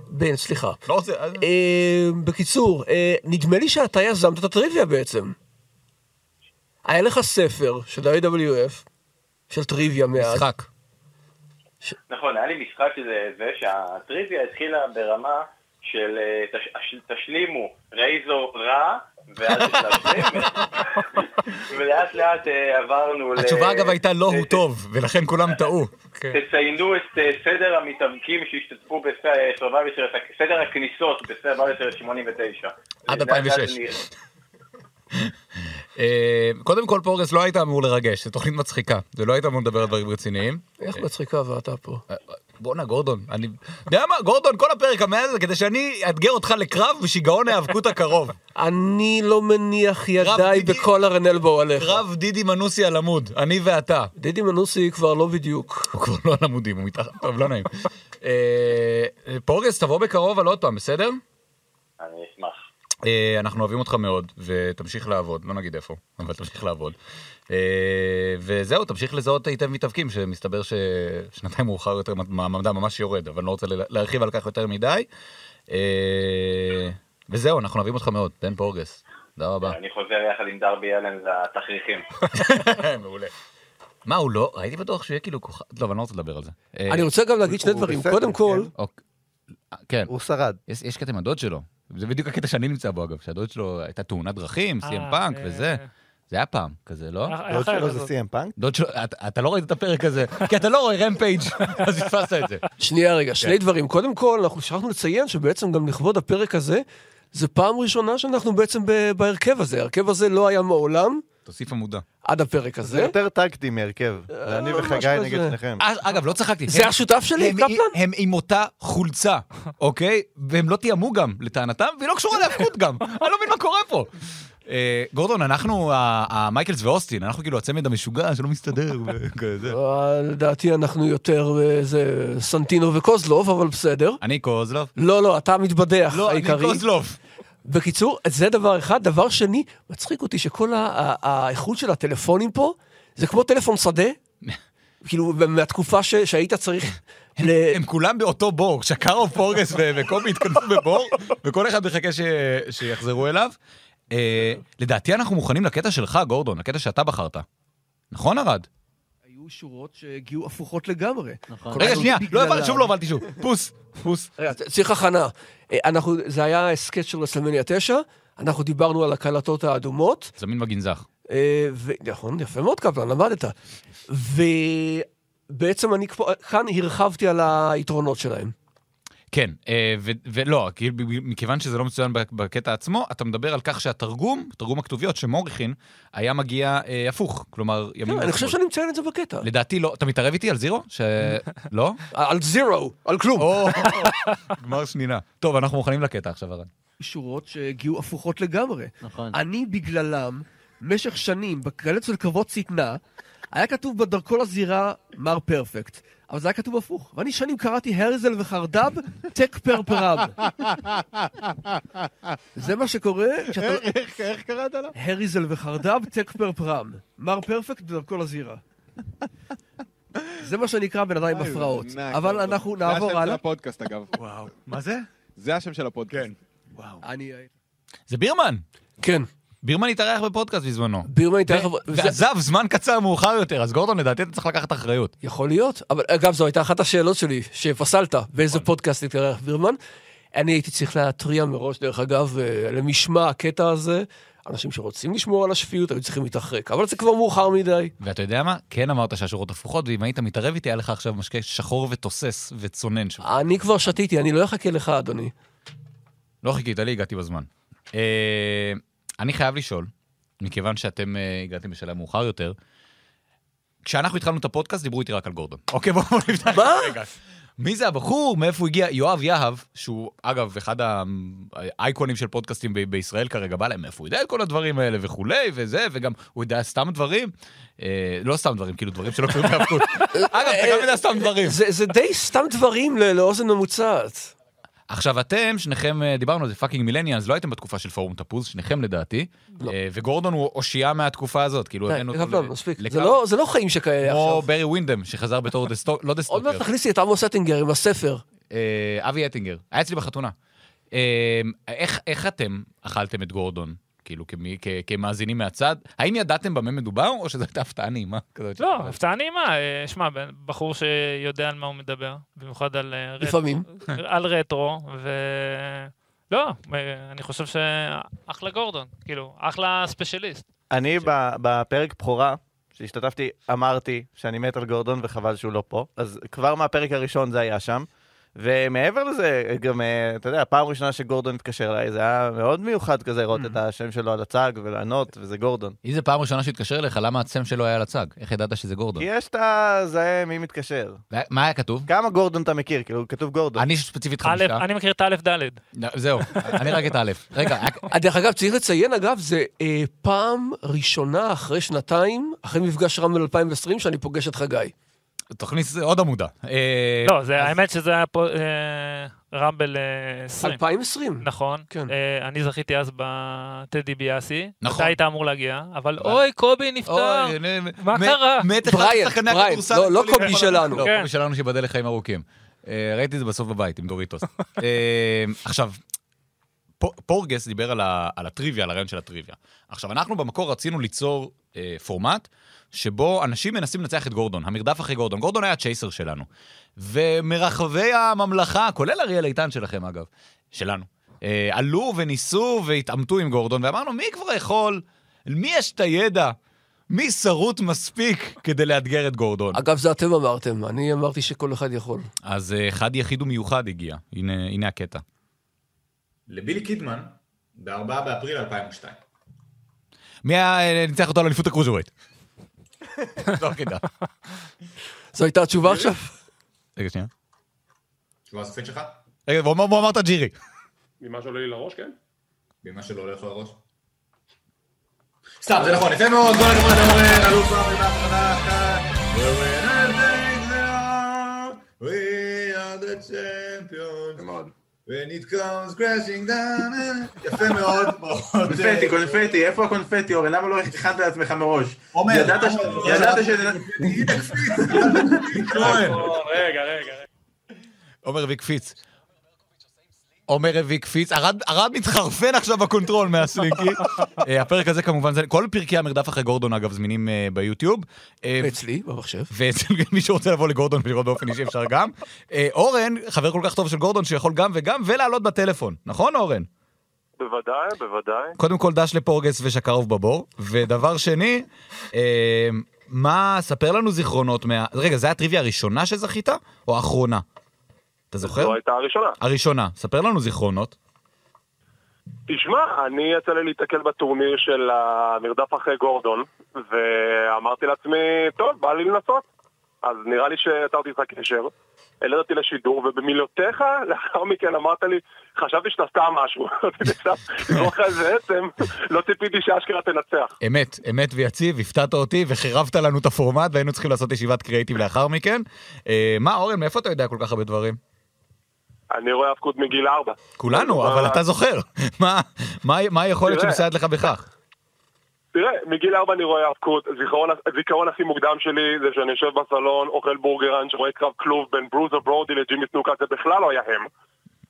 F: בן, סליחה.
C: לא רוצה...
F: אה, בקיצור, אה, נדמה לי שאתה יזמת את הטריוויה בעצם. היה לך ספר של ה-AWF, של טריוויה מאז. משחק.
M: נכון, היה לי משחק שזה זה שהטריוויה התחילה ברמה של אה, תש, הש- תשלימו רייזו רע, ואז תשלימו, ולאט לאט אה, עברנו ל...
C: התשובה אגב הייתה לא הוא טוב, ולכן כולם טעו.
M: תציינו את אה, סדר המתאבקים שהשתתפו
O: אה,
M: בסרבייבר של... סדר הכניסות בסרבייבר של 89.
C: עד
M: זה- זה-
C: 2006.
M: זה-
C: אה, קודם כל פורגס לא היית אמור לרגש, זו תוכנית מצחיקה, זה לא היית אמור לדבר על דברים רציניים.
F: איך מצחיקה ואתה פה.
C: בואנה, גורדון, אני... יודע מה, גורדון, כל הפרק המאה הזה כדי שאני אאתגר אותך לקרב בשיגעון ההיאבקות הקרוב.
F: אני לא מניח ידיי בכל הרנלבו עליך.
C: קרב דידי מנוסי על עמוד, אני ואתה.
F: דידי מנוסי כבר לא בדיוק.
C: הוא כבר לא על עמודים, הוא מתחת, טוב, לא נעים. אה, פורגס, תבוא בקרוב על עוד פעם, בסדר?
M: אני אשמח.
C: אה, אנחנו אוהבים אותך מאוד, ותמשיך לעבוד, לא נגיד איפה, אבל תמשיך לעבוד. אה, וזהו, תמשיך לזהות היטב מתאבקים, שמסתבר ששנתיים מאוחר יותר מעמדם ממש יורד, אבל אני לא רוצה לה- להרחיב על כך יותר מדי. אה, וזהו, אנחנו אוהבים אותך מאוד, בן פורגס. תודה רבה.
M: אני חוזר יחד עם דרבי אלן לתכריכים.
C: מעולה. מה, הוא לא? הייתי בטוח שהוא יהיה כאילו כוכב... לא, אבל אני לא רוצה לדבר על זה. אה,
F: אני רוצה גם להגיד שני
C: הוא
F: דברים.
C: בסדר,
F: קודם כל,
C: אוק- כן.
N: הוא שרד.
C: יש, יש קטע עם הדוד שלו. זה בדיוק הקטע שאני נמצא בו, אגב, שהדוד שלו הייתה תאונת דרכים,
E: אה,
C: סי.אם פאנק
E: אה.
C: וזה. זה היה פעם כזה, לא?
E: היה- היה דוד חייב שלו זה לעשות.
N: CM פאנק?
C: דוד שלו, אתה- אתה לא ראית את הפרק הזה, כי אתה לא רואה רמפייג', אז פספסת את זה.
F: שנייה רגע, שני
C: כן.
F: דברים. קודם כל, אנחנו שכחנו לציין שבעצם גם לכבוד הפרק הזה, זה פעם ראשונה שאנחנו בעצם ב- בהרכב הזה. ההרכב הזה לא היה מעולם
C: תוסיף עמודה.
F: עד הפרק
N: זה
D: אה?
F: הזה.
N: יותר טקטי מהרכב. זה אני
F: ממש
N: וחגי
F: אה, כזה.
N: נגד שניכם.
C: אה, אגב, לא צחקתי.
F: זה
C: הם-
F: השותף שלי,
C: הם-
F: קפלן?
C: הם עם אותה חולצה, אוקיי? והם לא תיאמו גם, לטענתם, והיא לא קשורה להפקות גם. אני לא מבין מה קורה פה. אה, גורדון, אנחנו, ה- המייקלס ואוסטין, אנחנו כאילו הצמד המשוגע שלא מסתדר וכזה.
F: אה, לדעתי אנחנו יותר אה, זה סנטינו וקוזלוב, אבל בסדר.
C: אני קוזלוב.
F: לא, לא, אתה מתבדח
C: לא, אני
F: העיקרי.
C: קוזלוב.
F: בקיצור, זה דבר אחד. דבר שני, מצחיק אותי שכל ה- ה- האיכות של הטלפונים פה, זה כמו טלפון שדה. כאילו, מהתקופה ש- שהיית צריך... ל-
C: הם כולם באותו בור, שקארו פורגס ו- וקובי התכנסו בבור, וכל אחד מחכה ש- שיחזרו אליו. אה, לדעתי אנחנו מוכנים לקטע שלך, גורדון, לקטע שאתה בחרת. נכון, ארד?
P: היו שורות שהגיעו הפוכות לגמרי.
C: רגע, שנייה, לא הבנתי, שוב לא הבנתי שוב. פוס, פוס.
F: רגע, צריך הכנה. אה, אנחנו, זה היה סקט של רסלמניה 9, אנחנו דיברנו על הקלטות האדומות.
C: זמין בגנזך.
F: אה, ו... נכון, יפה מאוד קפלן, למדת. ובעצם אני כבר, כאן הרחבתי על היתרונות שלהם.
C: כן, אה, ו- ולא, כי- מכיוון שזה לא מצוין בק- בקטע עצמו, אתה מדבר על כך שהתרגום, תרגום הכתוביות שמור הכין, היה מגיע אה, הפוך, כלומר, ימים...
F: לא, אני
C: ושמאל.
F: חושב שאני מציין את זה בקטע.
C: לדעתי לא, אתה מתערב איתי על זירו? ש... לא?
F: על זירו, על כלום.
C: גמר שנינה. טוב, אנחנו מוכנים לקטע עכשיו, ארד.
P: שורות שהגיעו הפוכות לגמרי. נכון. אני בגללם, משך שנים, בקלט של קרבות זקנה, היה כתוב בדרכו לזירה מר פרפקט. אבל זה היה כתוב הפוך. ואני שנים קראתי הרזל וחרדב, טק פרפרם. זה מה שקורה כשאתה...
G: איך קראת לו?
P: הריזל וחרדב, טק פרפרם. מר פרפקט בדרכו לזירה. זה מה שנקרא בן אדם עם
K: אוי,
P: הפרעות.
K: ענק,
P: אבל
K: אבל-
P: אנחנו
K: זה השם
P: נעבור
K: של
P: הלאה.
K: הפודקאסט, אגב.
C: וואו. מה זה?
K: זה השם של הפודקאסט. כן.
P: וואו. אני...
C: זה בירמן.
F: כן.
C: בירמן התארח בפודקאסט בזמנו.
F: בירמן התארח...
C: ו- ועזב זמן קצר מאוחר יותר, אז גורדון, לדעתי אתה צריך לקחת אחריות.
F: יכול להיות, אבל אגב, זו הייתה אחת השאלות שלי שפסלת,
C: נכון.
F: באיזה פודקאסט התארח בירמן. אני הייתי צריך להתריע מראש, דרך אגב, אה, למשמע הקטע הזה. אנשים שרוצים לשמור על השפיות היו צריכים להתרחק, אבל זה כבר מאוחר מדי.
C: ואתה יודע מה? כן אמרת שהשורות הפוכות, ואם היית מתערב איתי, היה לך עכשיו משקה שחור ותוסס וצונן שם.
F: אני כבר שתיתי, אני לא אחכה לך, אדוני.
C: לא חיכית לי, הגעתי בזמן. אה, אני חייב לשאול, מכיוון שאתם אה, הגעתם בשלב מאוחר יותר, כשאנחנו התחלנו את הפודקאסט, דיברו איתי רק על גורדון. אוקיי, בואו בואו נפתח את זה רגע. מי זה הבחור? מאיפה הוא הגיע? יואב יהב, שהוא אגב אחד האייקונים של פודקאסטים ב- בישראל כרגע, בא להם מאיפה הוא יודע את כל הדברים האלה וכולי וזה, וגם הוא יודע סתם דברים. אה, לא סתם דברים, כאילו דברים שלא קוראים בהאבקות. אגב, אתה גם יודע סתם דברים.
F: זה זה די סתם דברים ל- לאוזן ממוצעת.
C: עכשיו אתם, שניכם, אה, דיברנו על זה פאקינג מילניאנס, לא הייתם בתקופה של פורום תפוז, שניכם לדעתי. אה, וגורדון הוא אושייה מהתקופה הזאת, כאילו
F: לא. די,
C: הבאנו
F: טוב, טוב,
C: ל-
F: מספיק.
C: לקו-
F: זה לא- זה לא חיים שכאלה
C: כמו
F: עכשיו.
C: ברי ווינדם, שחזר בתור דסטוק, לא
F: עוד
C: דסטוקר.
F: מעט תכניסי את עמוס אטינגר עם הספר.
C: אה, אבי אטינגר, היה אצלי בחתונה. אה, איך, איך אתם אכלתם את גורדון? כאילו, כמי, כ, כמאזינים מהצד, האם ידעתם במה מדובר, או שזו הייתה הפתעה נעימה? כזאת?
E: לא, הפתעה נעימה. אה, שמע, בן- בחור שיודע על מה הוא מדבר, במיוחד על אה, רטרו.
F: לפעמים.
E: על רטרו, ו... לא, אה, אני חושב שאחלה גורדון, כאילו, אחלה ספיישליסט.
N: כן.
D: אני ב- בפרק בכורה שהשתתפתי, אמרתי שאני מת על גורדון וחבל שהוא לא פה, אז כבר מהפרק הראשון זה היה שם. ומעבר לזה, גם, אה, אתה יודע, הפעם הראשונה שגורדון התקשר אליי, זה היה מאוד מיוחד כזה לראות
N: Mm.
D: את השם שלו על הצג ולענות, וזה גורדון.
C: אם זו פעם ראשונה שהתקשר אליך, למה הצם שלו היה על הצג? איך ידעת שזה גורדון?
D: כי יש את הזהה מי מתקשר.
C: מה היה כתוב?
D: כמה גורדון אתה מכיר, כאילו, כתוב גורדון.
C: אני ספציפית
E: א', אני מכיר את א' ד'.
C: זהו, אני רק את א'. רגע,
F: דרך אגב, צריך לציין, אגב, זה אה, פעם ראשונה אחרי שנתיים, אחרי מפגש רמבל 2020, שאני פוגש את חגי.
C: תכניס עוד עמודה. אה,
E: לא, זה- האמת שזה היה פה אה, רמבל אה, 20.
F: 2020.
E: נכון.
C: כן.
E: אה, אני זכיתי אז בטדי ביאסי.
C: נכון.
E: אתה היית אמור להגיע, אבל אוי, קובי נפטר. מה קרה?
C: מת אחד משחקני הכדורסל. לא,
E: כן.
C: קובי שלנו שיבדל לחיים ארוכים. אה, ראיתי את זה בסוף בבית עם דוריטוס. אה, עכשיו, פו- פורגס דיבר על ה- על הטריוויה, על הרעיון של הטריוויה. עכשיו, אנחנו במקור רצינו ליצור אה, פורמט שבו אנשים מנסים לנצח את גורדון, המרדף אחרי גורדון. גורדון היה הצ'ייסר שלנו. ומרחבי הממלכה, כולל אריאל איתן שלכם אגב, שלנו, אה, עלו וניסו והתעמתו עם גורדון, ואמרנו, מי כבר יכול? למי יש את הידע? מי שרוט מספיק כדי לאתגר את גורדון?
F: אגב, זה אתם אמרתם, אני אמרתי שכל אחד יכול.
C: אז אה, אחד יחיד ומיוחד הגיע, הנה, הנה הקטע.
Q: לבילי קידמן, ב-4 באפריל 2002.
C: מי היה, אה, ניצח אותו על אליפות הקרוזווייט? לא כדאי.
F: זו הייתה התשובה עכשיו?
C: רגע, שנייה.
Q: תשובה הסופית שלך?
C: רגע, הוא אמר- הוא אמר את הג'ירי.
Q: ממה שעולה לי לראש, כן? ממה שלא הולך לראש. סתם, זה נכון, יפה מאוד, כל הכבוד לאורן, אלוף אבי בהפרדה אחת. We're gonna take the on, we are the champions. When it comes crashing down, יפה מאוד, ברכות.
L: קונפטי, קונפטי, איפה הקונפטי, אורן? למה לא הכנת לעצמך מראש?
Q: עומר,
L: ידעת ש-
Q: עומר,
L: ידעת ש...
E: רגע, רגע.
C: עומר הביא קפיץ. עומר הביא קפיץ, ארד ארד מתחרפן עכשיו בקונטרול מהסלינקי. אה, הפרק הזה כמובן, זה- כל פרקי המרדף אחרי גורדון אגב זמינים אה, ביוטיוב. אה,
F: ואצלי, במחשב.
C: ואצל מי שרוצה לבוא לגורדון ולראות באופן אישי אפשר גם. אה, אורן, חבר כל כך טוב של גורדון שיכול גם וגם ולעלות בטלפון, נכון אורן?
R: בוודאי, בוודאי.
C: קודם כל דש לפורגס ושקרוב בבור, ודבר שני, אה, מה, ספר לנו זיכרונות מה... רגע, זו הטריוויה הראשונה שזכית, או האחרונה? אתה זוכר?
R: זו הייתה הראשונה.
C: הראשונה. ספר לנו זיכרונות.
R: תשמע, אני יצא לי להתקל בטורניר של המרדף אחרי גורדון, ואמרתי לעצמי, טוב, בא לי לנסות. אז נראה לי שיצרתי איתך קשר, העלית אותי לשידור, ובמילותיך לאחר מכן אמרת לי, חשבתי שאתה סתם משהו. לא אחרי זה עצם, לא ציפיתי שאשכרה תנצח.
C: אמת, אמת ויציב, הפתעת אותי וחירבת לנו את הפורמט והיינו צריכים לעשות ישיבת קריאיטיב לאחר מכן. אה, מה, אורן, מאיפה אתה יודע כל כך הרבה דברים?
R: אני רואה הפקוד מגיל ארבע.
C: כולנו, אבל אתה זוכר. מה- מה מה היכולת
R: לא, תראה.
C: שמסייעת לך בכך?
R: תראה, מגיל ארבע אני רואה האבקות, זיכרון, הזיכרון הכי מוקדם שלי זה שאני יושב בסלון, אוכל בורגרן, שרואה קרב כלוב בין ברוזה ברודי לג'ימי סנוקה, זה בכלל לא היה הם.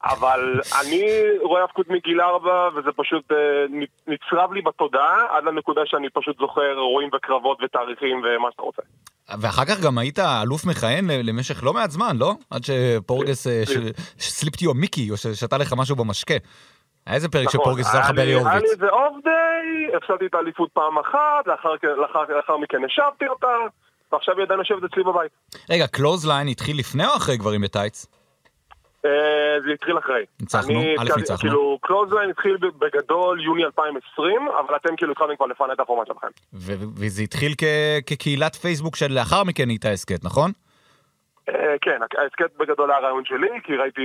R: אבל אני רואה האבקות מגיל ארבע, וזה פשוט אה, נ- נצרב לי בתודעה, עד לנקודה שאני פשוט זוכר אירועים וקרבות ותאריכים ומה שאתה רוצה.
C: ואחר כך גם היית אלוף מכהן ל- למשך לא מעט זמן, לא? עד שפורגס אה,
R: כן.
C: ש- סליפטי או מיקי, או ששתה לך משהו במשקה. היה איזה פרק
R: נכון,
C: שפורגס עשה לך
R: היה לי-
C: ברי
R: היה לי
C: הורוביץ.
R: איזה אוף דיי, הפסדתי את האליפות פעם אחת, לאחר כן- לאחר- לאחר מכן השבתי אותה, ועכשיו היא עדיין יושבת אצלי בבית.
C: רגע, קלוזליין התחיל לפני או אחרי גברים בטייץ?
R: אה, זה התחיל אחרי.
C: ניצחנו,
R: אני
C: א',
R: התחלתי-
C: ניצחנו.
R: כאילו, קלוזליין התחיל ב- בגדול יוני 2020, אבל אתם כאילו התחלתם כבר לפני את הפורמט שלכם.
C: ו- וזה התחיל כ- כקהילת פייסבוק שלאחר מכן נהייתה הסכת, נכון?
R: אה, כן, הק- ההסכת בגדול היה הרעיון שלי, כי ראיתי...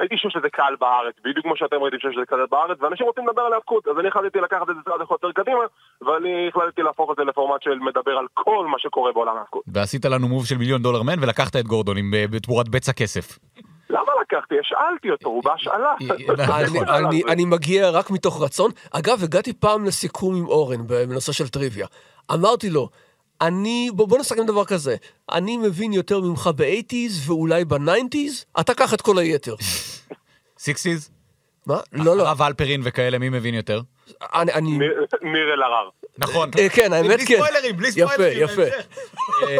R: ראיתי שיש לזה קהל בארץ, בדיוק כמו שאתם ראיתם שיש לזה קהל בארץ, ואנשים רוצים לדבר על האבקות, אז אני החלטתי לקחת את זה צעד אחד יותר קדימה, ואני החלטתי להפוך את זה לפורמט של מדבר על כל מה שקורה בעולם האבקות.
C: ועשית לנו מוב של מיליון דולר מן ולקחת את גורדון עם אה, בתמורת בצע כסף.
R: למה לקחתי? השאלתי אותו, הוא בהשאלה.
C: אה, נכון.
F: אני- אני- אני מגיע רק מתוך רצון. אגב, הגעתי פעם לסיכום עם אורן בנושא של טריוויה. אמרתי לו, אני, בוא, בוא נסכם דבר כזה, אני מבין יותר ממך ב-80's ואולי ב-90's, אתה קח את כל היתר.
C: סיקסיז?
F: מה? לא, לא.
C: הרב הלפרין וכאלה, מי מבין יותר?
F: אני... אני...
R: ניר אלהרר.
C: אה, נכון.
F: אה, כן, האמת
C: בלי
F: כן.
C: ספוילרים, בלי
F: יפה,
C: ספוילרים.
F: יפה.
C: בהמשך.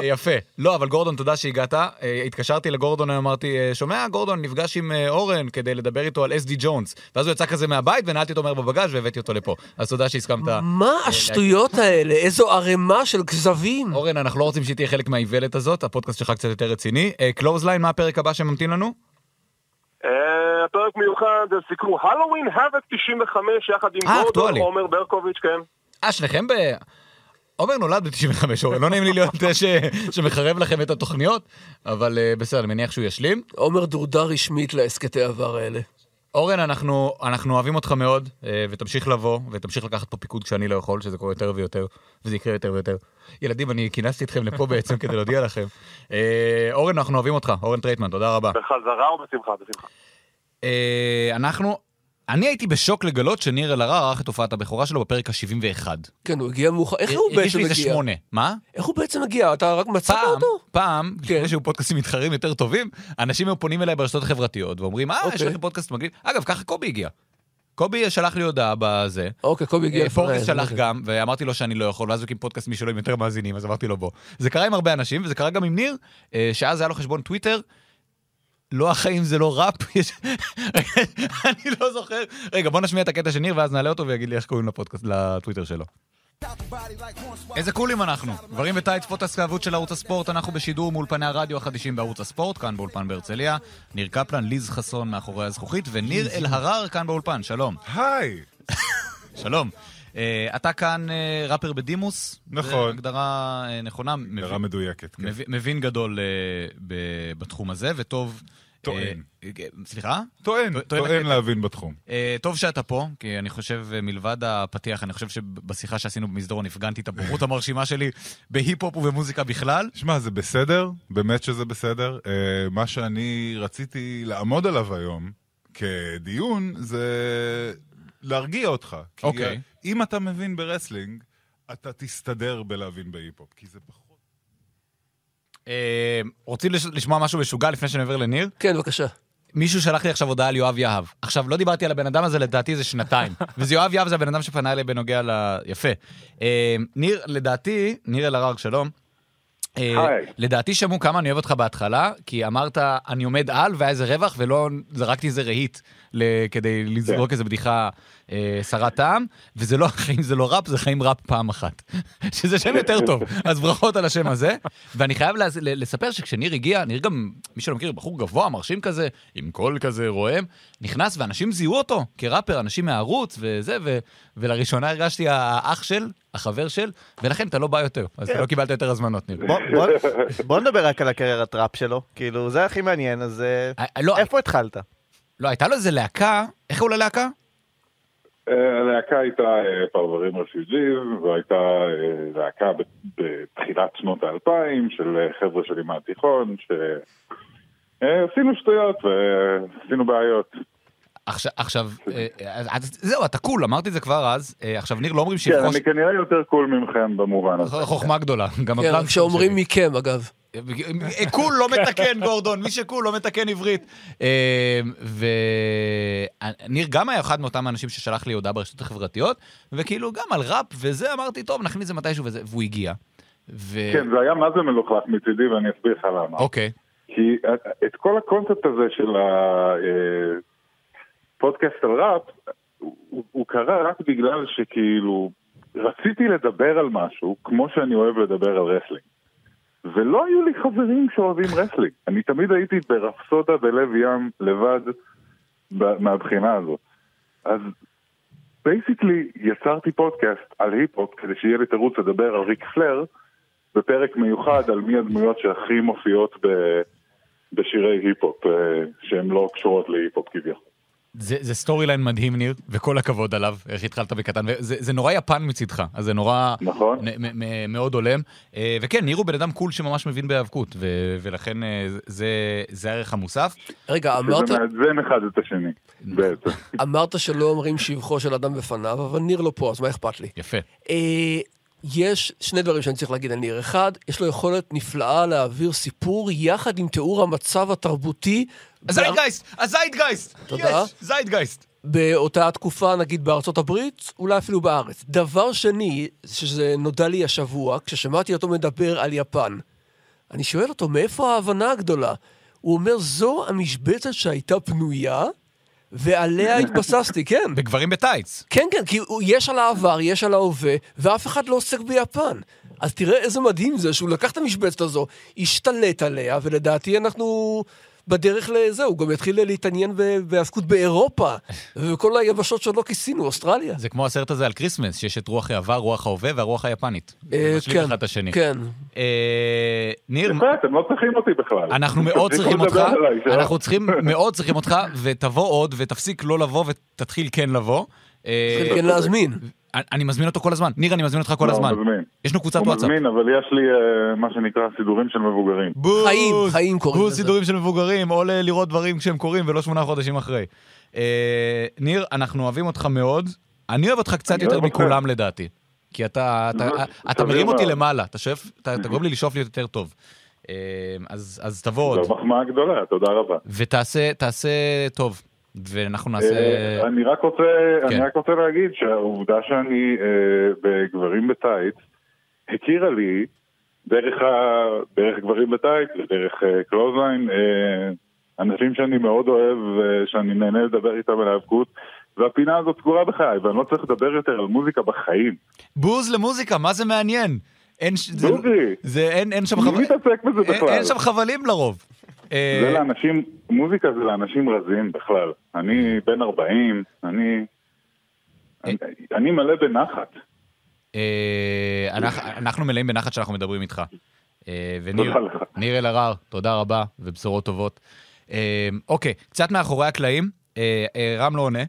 C: אה, יפה. לא, אבל גורדון, תודה שהגעת. אה, התקשרתי לגורדון, אמרתי, אה, שומע, גורדון, נפגש עם אה, אורן כדי לדבר איתו על אס.די ג'ונס. ואז הוא יצא כזה מהבית ונעלתי אותו מהר בבגאז' והבאתי אותו לפה. אז תודה שהסכמת.
F: מה
C: אה,
F: השטויות האלה? איזו ערימה של כזבים.
C: אורן, אנחנו לא רוצים שתהיה חלק מהאיוולת הזאת, הפודקאסט שלך קצת יותר רציני. אה, קלוזליין, מה הפרק הבא שממתין לנו?
R: אה, הפרק מיוחד, אז סיקרו הלואוין האבק 95 יחד עם
C: אה,
R: גורדון
C: אקטואלי.
R: עומר ברקוביץ', כן.
C: אה, שניכם ב... עומר נולד ב-95, אורן, לא נעים לי להיות זה ש... שמחרב לכם את התוכניות, אבל אה, בסדר, אני מניח שהוא ישלים.
F: עומר דורדר רשמית להסכתי העבר האלה.
C: אורן, אנחנו, אנחנו אוהבים אותך מאוד, אה, ותמשיך לבוא, ותמשיך לקחת פה פיקוד כשאני לא יכול, שזה קורה יותר ויותר, וזה יקרה יותר ויותר. ילדים, אני כינסתי אתכם לפה בעצם כדי להודיע לכם. אה, אורן, אנחנו אוהבים אותך, אורן טרייטמן, תודה רבה.
R: בחזרה או בשמחה? בשמחה.
C: אה, אנחנו... אני הייתי בשוק לגלות שניר אלהרר ערך את הופעת הבכורה שלו בפרק ה-71.
F: כן, הוא הגיע מאוחר. איך הוא
C: הרגיש
F: בעצם
C: לי
F: הגיע?
C: איזה שמונה. מה?
F: איך הוא בעצם הגיע? אתה רק מצאת
C: פעם,
F: אותו? כן.
C: פעם, לפני שהיו פודקאסטים מתחרים יותר טובים, אנשים היו פונים אליי ברשתות החברתיות ואומרים, אה, יש
F: אוקיי.
C: לכם פודקאסט מגניב. אגב, ככה קובי הגיע. קובי שלח לי הודעה בזה.
F: אוקיי, קובי הגיע
C: אה,
F: לפניי,
C: פורקס
F: אז
C: שלח
F: אוקיי.
C: גם, ואמרתי לו שאני לא יכול, ואז הוא הקים פודקאסט משלו עם יותר מאזינים, אז אמרתי לו בוא. זה קרה עם הרבה אנשים, וזה קרה גם עם ניר, אה, שאז היה לו חשבון טוויטר. לא החיים זה לא ראפ, יש- אני לא זוכר. רגע, בוא נשמיע את הקטע של ניר, ואז נעלה אותו ויגיד לי איך קוראים לפודקאסט, לטוויטר שלו. איזה קולים אנחנו. גברים וטייץ פודקאסט והעבוד של ערוץ הספורט, אנחנו בשידור מאולפני הרדיו החדישים בערוץ הספורט, כאן באולפן בהרצליה. ניר קפלן, ליז חסון מאחורי הזכוכית, וניר אלהרר כאן באולפן, שלום. היי. שלום. אה, אתה כאן אה, ראפר בדימוס.
S: נכון.
C: זו הגדרה אה, נכונה. הגדרה
S: מדויקת, כן.
C: מבין גדול אה, ב- בתחום הזה, וטוב...
S: טוען.
C: אה, אה, סליחה?
S: טוען,
Q: אה,
S: טוען
C: הקטע.
S: להבין בתחום.
C: אה, טוב שאתה פה, כי אני חושב, אה, מלבד הפתיח, אני חושב שבשיחה שעשינו במסדרון הפגנתי את הבורות המרשימה שלי בהיפ-הופ ובמוזיקה בכלל.
S: שמע, זה בסדר, באמת שזה בסדר. אה, מה שאני רציתי לעמוד עליו היום, כדיון, זה להרגיע אותך. כי אה,
C: אוקיי.
S: אם אתה מבין ברסלינג, אתה תסתדר בלהבין בהיפ-הופ, כי זה פחות...
C: אה, רוצים לש- לשמוע משהו משוגע לפני שאני עובר לניר?
F: כן, בבקשה.
C: מישהו שלח לי עכשיו הודעה על יואב יהב. עכשיו, לא דיברתי על הבן אדם הזה, לדעתי זה שנתיים. וזה יואב יהב, זה הבן אדם שפנה אליי בנוגע ל... יפה. אה, ניר, לדעתי, ניר אלהרר, שלום. אה,
T: היי.
C: לדעתי שמעו כמה אני אוהב אותך בהתחלה, כי אמרת, אני עומד על, והיה איזה רווח, ולא זרקתי איזה רהיט ל- כדי לזרוק איזה בדיחה אה, סרת טעם, וזה לא, חיים זה לא ראפ, זה חיים ראפ פעם אחת. שזה שם יותר טוב, אז ברכות על השם הזה. ואני חייב להז- ל- לספר שכשניר הגיע, ניר גם, מי שלא מכיר, בחור גבוה, מרשים כזה, עם קול כזה רועם, נכנס ואנשים זיהו אותו כראפר, אנשים מהערוץ וזה, ו- ולראשונה הרגשתי האח של, החבר של, ולכן אתה לא בא יותר, אז אתה לא קיבלת יותר הזמנות, ניר.
D: בוא- בוא- בוא נדבר רק על הקריירת ראפ שלו, כאילו, זה הכי מעניין, אז אה, איפה התחלת?
C: לא, הייתה לו איזה להקה, איך קראו ללהקה?
T: אה, הלהקה הייתה אה, פרברים רפיוג'יז, והייתה אה, להקה ב- בתחילת שנות האלפיים של אה, חבר'ה שלי מהתיכון, שעשינו אה, שטויות ועשינו בעיות.
C: עכשיו, עכשיו, אה, אה, אז- זהו, אתה קול, אמרתי את זה כבר אז. אה, עכשיו, ניר, לא אומרים
T: כן,
C: שיבחוש...
T: אני כנראה יותר קול ממכם במובן הזה.
C: חוכמה גדולה. גם
F: כן,
C: הפלאג
F: רק שאומרים מכם, אגב.
C: אה, קול לא מתקן, גורדון, מי שקול לא מתקן עברית. אה, וניר גם היה אחד מאותם האנשים ששלח לי הודעה ברשתות החברתיות, וכאילו גם על ראפ וזה, אמרתי, טוב, נכניס את זה מתישהו, וזה, והוא הגיע. ו...
T: כן, זה היה מה זה מלוכלך מצידי, ואני אסביר לך למה.
C: אוקיי.
T: כי את כל הקונספט הזה של הפודקאסט על ראפ, הוא, הוא קרה רק בגלל שכאילו רציתי לדבר על משהו כמו שאני אוהב לדבר על רסלינג. ולא היו לי חברים שאוהבים רסלינג. אני תמיד הייתי ברפסודה בלב ים לבד ב- מהבחינה הזו. אז בייסיקלי יצרתי פודקאסט על היפ-הופ כדי שיהיה לי תירוץ לדבר על ריק פלר בפרק מיוחד על מי הדמויות שהכי מופיעות ב... בשירי היפ-הופ, אה, שהן לא קשורות להיפ-הופ כביכול.
C: זה, זה סטורי ליין מדהים, ניר, וכל הכבוד עליו, איך התחלת בקטן, וזה, זה נורא יפן מצידך, אז זה נורא...
T: נכון.
C: נ, מ, מ, מאוד הולם. אה, וכן, ניר הוא בן אדם קול שממש מבין בהיאבקות, ו, ולכן אה, זה, זה הערך המוסף.
F: רגע, אמרת...
T: שזה מאזן אחד את השני, בעצם.
F: אמרת שלא אומרים שבחו של אדם בפניו, אבל ניר לא פה, אז מה אכפת לי?
C: יפה.
F: אה, יש שני דברים שאני צריך להגיד על ניר. אחד, יש לו יכולת נפלאה להעביר סיפור יחד עם תיאור המצב התרבותי.
C: הזיידגייסט! הזיידגייסט!
F: תודה.
C: יש, זיידגייסט.
F: באותה התקופה, נגיד בארצות הברית, אולי אפילו בארץ. דבר שני, שזה נודע לי השבוע, כששמעתי אותו מדבר על יפן, אני שואל אותו, מאיפה ההבנה הגדולה? הוא אומר, זו המשבצת שהייתה פנויה, ועליה התבססתי, כן.
C: בגברים בטייץ.
F: כן, כן, כי הוא- יש על העבר, יש על ההווה, ואף אחד לא עוסק ביפן. אז תראה איזה מדהים זה שהוא לקח את המשבצת הזו, השתלט עליה, ולדעתי אנחנו בדרך לזה, הוא גם יתחיל להתעניין ב- בהאבקות באירופה, ובכל היבשות שעוד לא כיסינו, אוסטרליה.
C: זה כמו הסרט הזה על כריסמס, שיש את רוח העבר, רוח ההווה והרוח היפנית.
F: אה,
C: זה משלים
F: כן,
C: אחד את השני.
F: כן.
C: אה, ניר,
T: יפה, אתם לא צריכים אותי בכלל.
C: אנחנו מאוד
T: תפסיקו
C: צריכים אותך,
T: לדבר עליי, לא- שלא.
C: אנחנו צריכים, מאוד צריכים אותך, ותבוא עוד, ותפסיק לא לבוא, ותתחיל כן לבוא. אה,
T: תתחיל כן להזמין.
C: אני- אני מזמין אותו כל הזמן. ניר, אני מזמין אותך כל
T: לא,
C: הזמן.
T: הוא מזמין.
C: יש לנו קבוצת
T: הוא
C: וואטסאפ.
T: מזמין, אבל יש לי אה, מה שנקרא סידורים של מבוגרים.
C: חיים, חיים קוראים לזה. בוז סידורים של מבוגרים, או ל- לראות דברים כשהם קורים ולא שמונה חודשים אחרי. אה, ניר, אנחנו אוהבים אותך מאוד. אני אוהב אותך קצת
T: אני
C: יותר
T: אוהב אתכם.
C: מכולם לדעתי. כי אתה, אתה,
T: ממש,
C: אתה, אתה
T: סביר
C: מרים אותי
T: מאוד.
C: למעלה, אתה שואף, אתה, אתה גורם לי לשאוף להיות יותר טוב. אה, אז, אז תבוא עוד,
T: זו מחמאה גדולה, תודה רבה.
C: ותעשה תעשה טוב, ואנחנו נעשה...
T: אה, אני רק רוצה,
C: כן.
T: אני רק רוצה להגיד שהעובדה שאני אה, בגברים בטייץ הכירה לי דרך, ה, דרך גברים בטייץ ודרך אה, קלוזליין אה, אנשים שאני מאוד אוהב, אה, שאני נהנה לדבר איתם על האבקות והפינה הזאת סגורה בחיי ואני לא צריך לדבר יותר על מוזיקה בחיים.
C: בוז למוזיקה, מה זה מעניין? אין, ש- זה,
T: בוזי.
C: זה, אין, אין שם
T: מי
C: חבל...
T: מתעסק בזה
C: אין,
T: בכלל?
C: אין שם חבלים לרוב. אה,
T: זה לאנשים, מוזיקה זה לאנשים רזים בכלל. אני בן 40, אני... אני- אני מלא בנחת.
C: אה, אנחנו- אנחנו מלאים בנחת שאנחנו מדברים איתך. אה, וניר
T: תודה לך.
C: ניר אלהרר, תודה רבה ובשורות טובות. אה, אוקיי, קצת מאחורי הקלעים, אה, אה, רם לא עונה,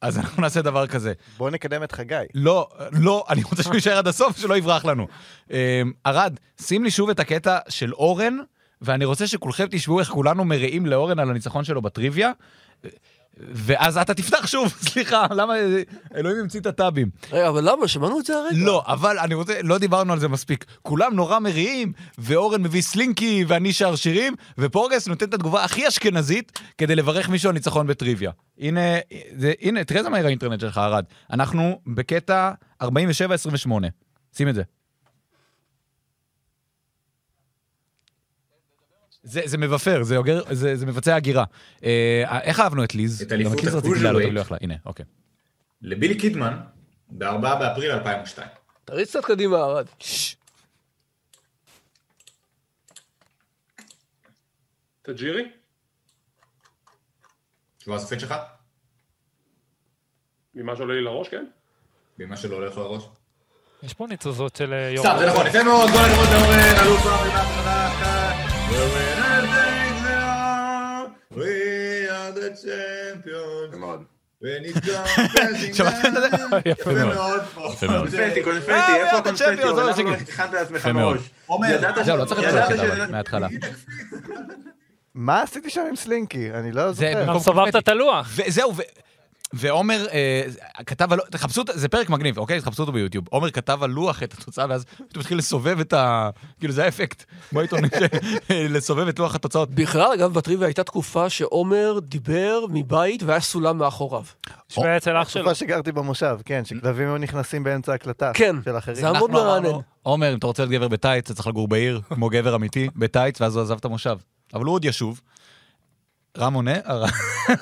C: אז אנחנו נעשה דבר כזה.
D: בוא נקדם את חגי.
C: לא, לא, אני רוצה שהוא יישאר עד הסוף, שלא יברח לנו. אה, ארד, שים לי שוב את הקטע של אורן, ואני רוצה שכולכם תשמעו איך כולנו מריעים לאורן על הניצחון שלו בטריוויה. ואז אתה תפתח שוב, סליחה, למה אלוהים המציא את הטאבים.
F: רגע, אבל למה? שמענו את זה הרגע.
C: לא, אבל אני רוצה, לא דיברנו על זה מספיק. כולם נורא מריעים, ואורן מביא סלינקי ואני שר שירים, ופורגס נותן את התגובה הכי אשכנזית כדי לברך מישהו על ניצחון בטריוויה. הנה, זה, הנה, תראה איזה מהר האינטרנט שלך, ארד. אנחנו בקטע 47-28. שים את זה. זה, זה מבפר, זה, יוגר, זה, זה מבצע הגירה. אה, איך אהבנו את ליז?
U: את אליפות
C: גם את ליז רציתי לעלות, אבל לא
U: ה-Cruiserweight.
C: יכלה. הנה, אוקיי.
U: לבילי קידמן, ב-4 באפריל 2002.
F: תריץ קצת קדימה, ארד.
U: תג'ירי? תשובה הסופית שלך?
R: ממה שעולה לי לראש, כן?
U: ממה שלא הולך לראש?
E: יש פה ניצוזות של אה, יורם.
U: סתם,
C: לא-
U: זה נכון, יפה מאוד, גול לראות לאורן, אה, אלוף ארי בהפרדה
Q: אחת. When I take the arm, we are the champions. When it comes crashing
C: שמעתם את זה?
Q: down.
C: יפה מאוד. יפה מאוד.
Q: קונפטי, קונפטי,
C: אה,
Q: איפה
C: אתה
Q: הקונפטי?
C: צ'מפיון, זה
Q: למה
C: מה
Q: לא
C: שכן.
Q: הכנת לעצמך
C: יפה מאוד.
Q: מראש? ידעת ש-
C: זהו, לא צריך
Q: ידעת
C: לעשות את
Q: שזה-
C: הקטע אבל, מההתחלה.
D: מה עשיתי שם עם סלינקי? אני לא
C: זה
D: זוכר.
C: אה, במקום קונפטי. וזהו, ו... ועומר אה, כתב על... תחפשו, את- זה פרק מגניב, אוקיי? תחפשו אותו ביוטיוב. עומר כתב על לוח את התוצאה, ואז אתה מתחיל לסובב את ה... כאילו, זה האפקט. בעיתון, לסובב את לוח התוצאות.
F: בכלל, אגב, בטריוויה הייתה תקופה שעומר דיבר מבית והיה סולם מאחוריו.
D: אה,
E: שווה אצל אח שלו.
D: תקופה שגרתי במושב, כן, שכלבים היו נכנסים באמצע הקלטה.
F: כן,
D: של אחרים.
C: אנחנו אמרנו, עומר, אם אתה רוצה להיות גבר בטייץ, אתה צריך לגור בעיר, כמו גבר אמיתי, בטייץ, ואז הוא עזב את המושב. אבל הוא עוד ישוב. רם עונה? אה, רם.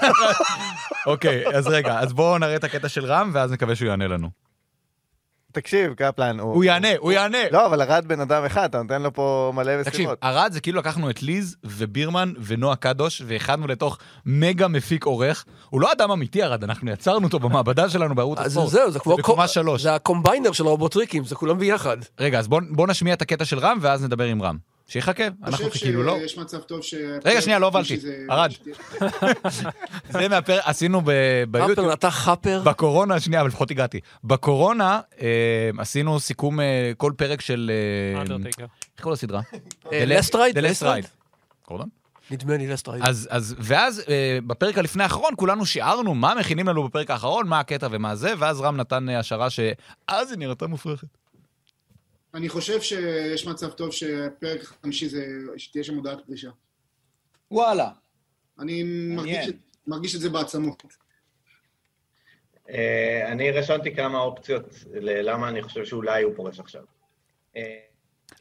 C: אוקיי, אז רגע, אז בואו נראה את הקטע של רם, ואז נקווה שהוא יענה לנו.
D: תקשיב, קפלן, הוא...
C: הוא יענה, הוא יענה.
D: לא, אבל ארד בן אדם אחד, אתה נותן לו פה מלא
C: תקשיב,
D: משימות.
C: ערד זה כאילו לקחנו את ליז ובירמן ונועה קדוש ואיחדנו לתוך מגה מפיק עורך. הוא לא אדם אמיתי ערד, אנחנו יצרנו אותו במעבדה שלנו בערוץ
F: אז
C: הספורט.
F: זהו, זה כמו...
C: בקומה שלוש.
F: זה הקומביינר של הרובוטריקים, זה כולם ביחד.
C: רגע, אז בוא- בוא נשמיע את הקטע של רם ואז נדבר עם רם. שיחכה, אנחנו כאילו לא.
V: יש מצב טוב ש...
C: רגע, שנייה, לא הובלתי.
V: שזה-
C: ערד. זה מהפרק, עשינו ב- ביוטיוב. חפר,
F: אתה חפר.
C: בקורונה, שנייה, אבל לפחות הגעתי. בקורונה אה, עשינו סיכום אה, כל פרק של... אה,
E: Undertaker.
C: איך קוראים לסדרה?
F: אה, Last Ride,
C: The
F: Last
C: Last
F: Ride.
C: Ride. קורדון?
F: נדמה לי לסטרייד.
C: אז, אז, ואז אה, בפרק הלפני האחרון כולנו שיערנו מה מכינים לנו בפרק האחרון, מה הקטע ומה זה, ואז רם נתן אה, השערה שאז היא נראתה מופרכת.
V: אני חושב שיש מצב טוב שפרק חמישי זה... שתהיה שם הודעת פרישה.
C: וואלה.
V: אני מרגיש את- מרגיש את זה בעצמות.
W: אה, אני רשמתי כמה אופציות ללמה אני חושב שאולי הוא פורש עכשיו. אה,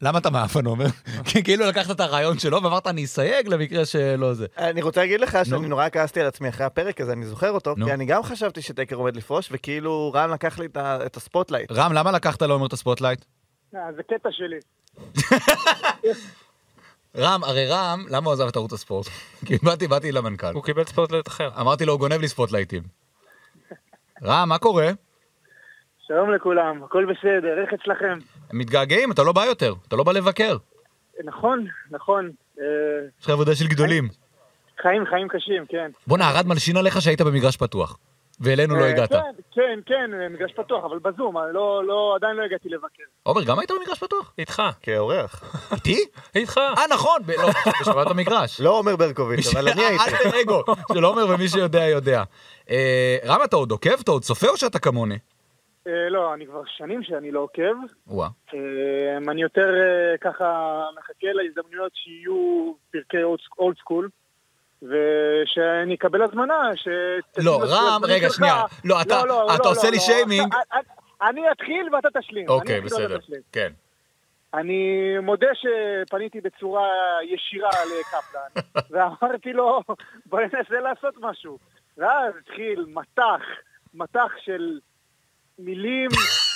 C: למה אתה מעפן אומר? כי כאילו לקחת את הרעיון שלו ואמרת אני אסייג למקרה שלא זה.
D: אני רוצה להגיד לך שאני נורא כעסתי על עצמי אחרי הפרק הזה, אני זוכר אותו,
C: נו.
D: כי אני גם חשבתי שטקר עומד לפרוש, וכאילו רן לקח לי את ה- את הספוטלייט.
C: רם, לא
A: אה,
C: למה לקחת לעומר את הספוטלייט?
O: אה, זה קטע שלי.
C: רם, הרי רם, למה הוא עזב את ערוץ הספורט? כי באתי, באתי למנכ"ל.
E: הוא קיבל ספוטלייט אחר.
C: אמרתי לו, הוא גונב לי ספוטלייטים. רם, מה קורה?
A: שלום לכולם, הכל בסדר, איך אצלכם?
C: מתגעגעים, אתה לא בא יותר, אתה לא בא לבקר.
A: נכון, נכון. אה,
C: יש לך עבודה של
E: אה.
C: גדולים.
A: חיים, חיים קשים, כן.
C: בואנה, ארד מלשין עליך שהיית במגרש פתוח. ואלינו לא
A: אה,
C: הגעת.
A: כן, כן, כן, אה, מגרש פתוח, אבל בזום, אה, לא, לא, עדיין לא הגעתי לבקר.
C: עומר, גם היית במגרש פתוח?
E: איתך.
N: כאורח.
C: איתי?
E: איתך.
C: אה, נכון, ב- לא, בשבת המגרש.
N: לא עומר ברקוביץ', אבל אני הייתי.
C: אלטר אגו, של עומר ומי שיודע יודע. אה, רם, אתה עוד עוקב? אתה עוד צופה או שאתה כמוני?
A: אה, לא, אני כבר שנים שאני לא עוקב.
C: וואה.
A: אה, אני יותר אה, ככה מחכה להזדמנויות שיהיו פרקי אולד סקול. ושאני אקבל הזמנה, ש...
C: לא, רם, רגע, שנייה. לא, אתה- אתה עושה לי שיימינג.
A: אני אתחיל ואתה תשלים. אני לא
C: אוקיי,
A: אתחיל ואתה
C: בסדר.
A: תשלים.
C: כן.
A: אני מודה שפניתי בצורה ישירה לקפלן, ואמרתי לו, בוא ננסה לעשות משהו. ואז התחיל מטח, מטח של מילים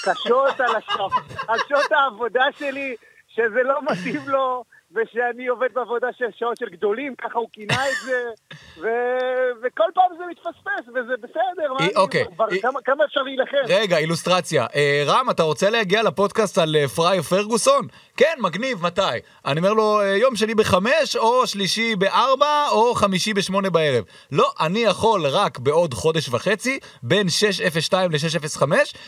A: קשות על, השעות, על שעות העבודה שלי, שזה לא מתאים לו, ושאני עובד בעבודה של שעות של גדולים, ככה הוא כינה את זה, ו... וכל פעם זה מתפספס, וזה בסדר, מה
C: אי-
A: אני...
C: אוקיי,
A: כבר כמה, כמה אפשר להילחם?
C: רגע, אילוסטרציה. אה, רם, אתה רוצה להגיע לפודקאסט על אה, פרייר פרגוסון? כן, מגניב, מתי? אני אומר לו, אה, יום שני בחמש, או שלישי בארבע, או חמישי בשמונה בערב. לא, אני יכול רק בעוד חודש וחצי, בין 6.02 ל-6.05,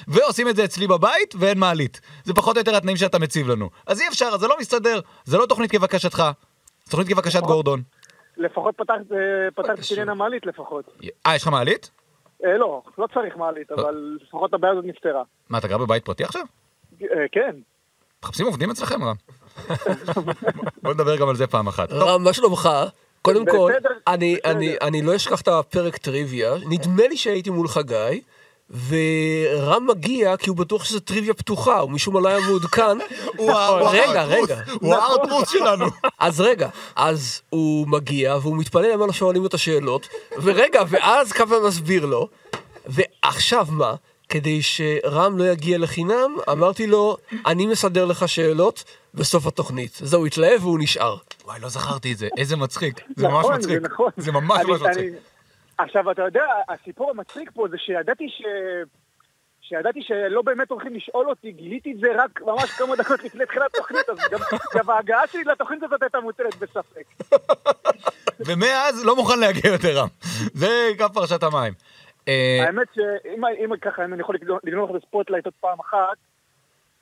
C: ועושים את זה אצלי בבית, ואין מעלית. זה פחות או יותר התנאים שאתה מציב לנו. אז אי אפשר, אז זה לא מסתדר. זה לא תוכנית כבקשתך. זה תוכנית כבקשת גורדון.
A: לפחות פתחת פתחת את עניין המעלית לפחות.
C: אה, יש לך מעלית?
A: אה, לא, לא צריך מעלית, אבל לפחות הבעיה הזאת נפתרה.
C: מה, אתה גר בבית פרטי עכשיו?
A: אה, כן.
C: מחפשים עובדים אצלכם, רם? בוא נדבר גם על זה פעם אחת.
F: רם, מה שלומך? קודם כל,
A: בסדר,
F: אני, אני, אני לא אשכח את הפרק טריוויה, נדמה לי שהייתי מול חגי, ורם מגיע כי הוא בטוח שזו טריוויה פתוחה, הוא משום מה לא היה מעודכן. נכון.
C: הוא ה- הוא
F: רגע,
C: הארטרוס,
F: רגע.
C: הוא
A: נכון.
C: הארטרוס שלנו.
F: אז רגע, אז הוא מגיע והוא מתפלא למה לא שואלים אותו שאלות, ורגע, ואז קפלן מסביר לו, ועכשיו מה? כדי שרם לא יגיע לחינם, אמרתי לו, אני מסדר לך שאלות בסוף התוכנית. אז הוא התלהב והוא נשאר.
C: וואי, לא זכרתי את זה, איזה מצחיק. זה ממש
A: נכון,
C: מצחיק.
A: זה נכון.
C: זה ממש
A: אני-
C: ממש מצחיק.
A: אני- עכשיו, אתה יודע, הסיפור המצחיק פה זה שידעתי ש... שידעתי שלא באמת הולכים לשאול אותי, גיליתי את זה רק ממש כמה דקות לפני תחילת התוכנית, אז גם, גם ההגעה שלי לתוכנית הזאת הייתה מוטלת בספק.
C: ומאז לא מוכן להגיע יותר רם. זה קו פרשת המים. אה,
A: האמת שאם אם ככה, אם אני יכול לגנוב- לגנוב לך את הספוטלייט עוד פעם אחת,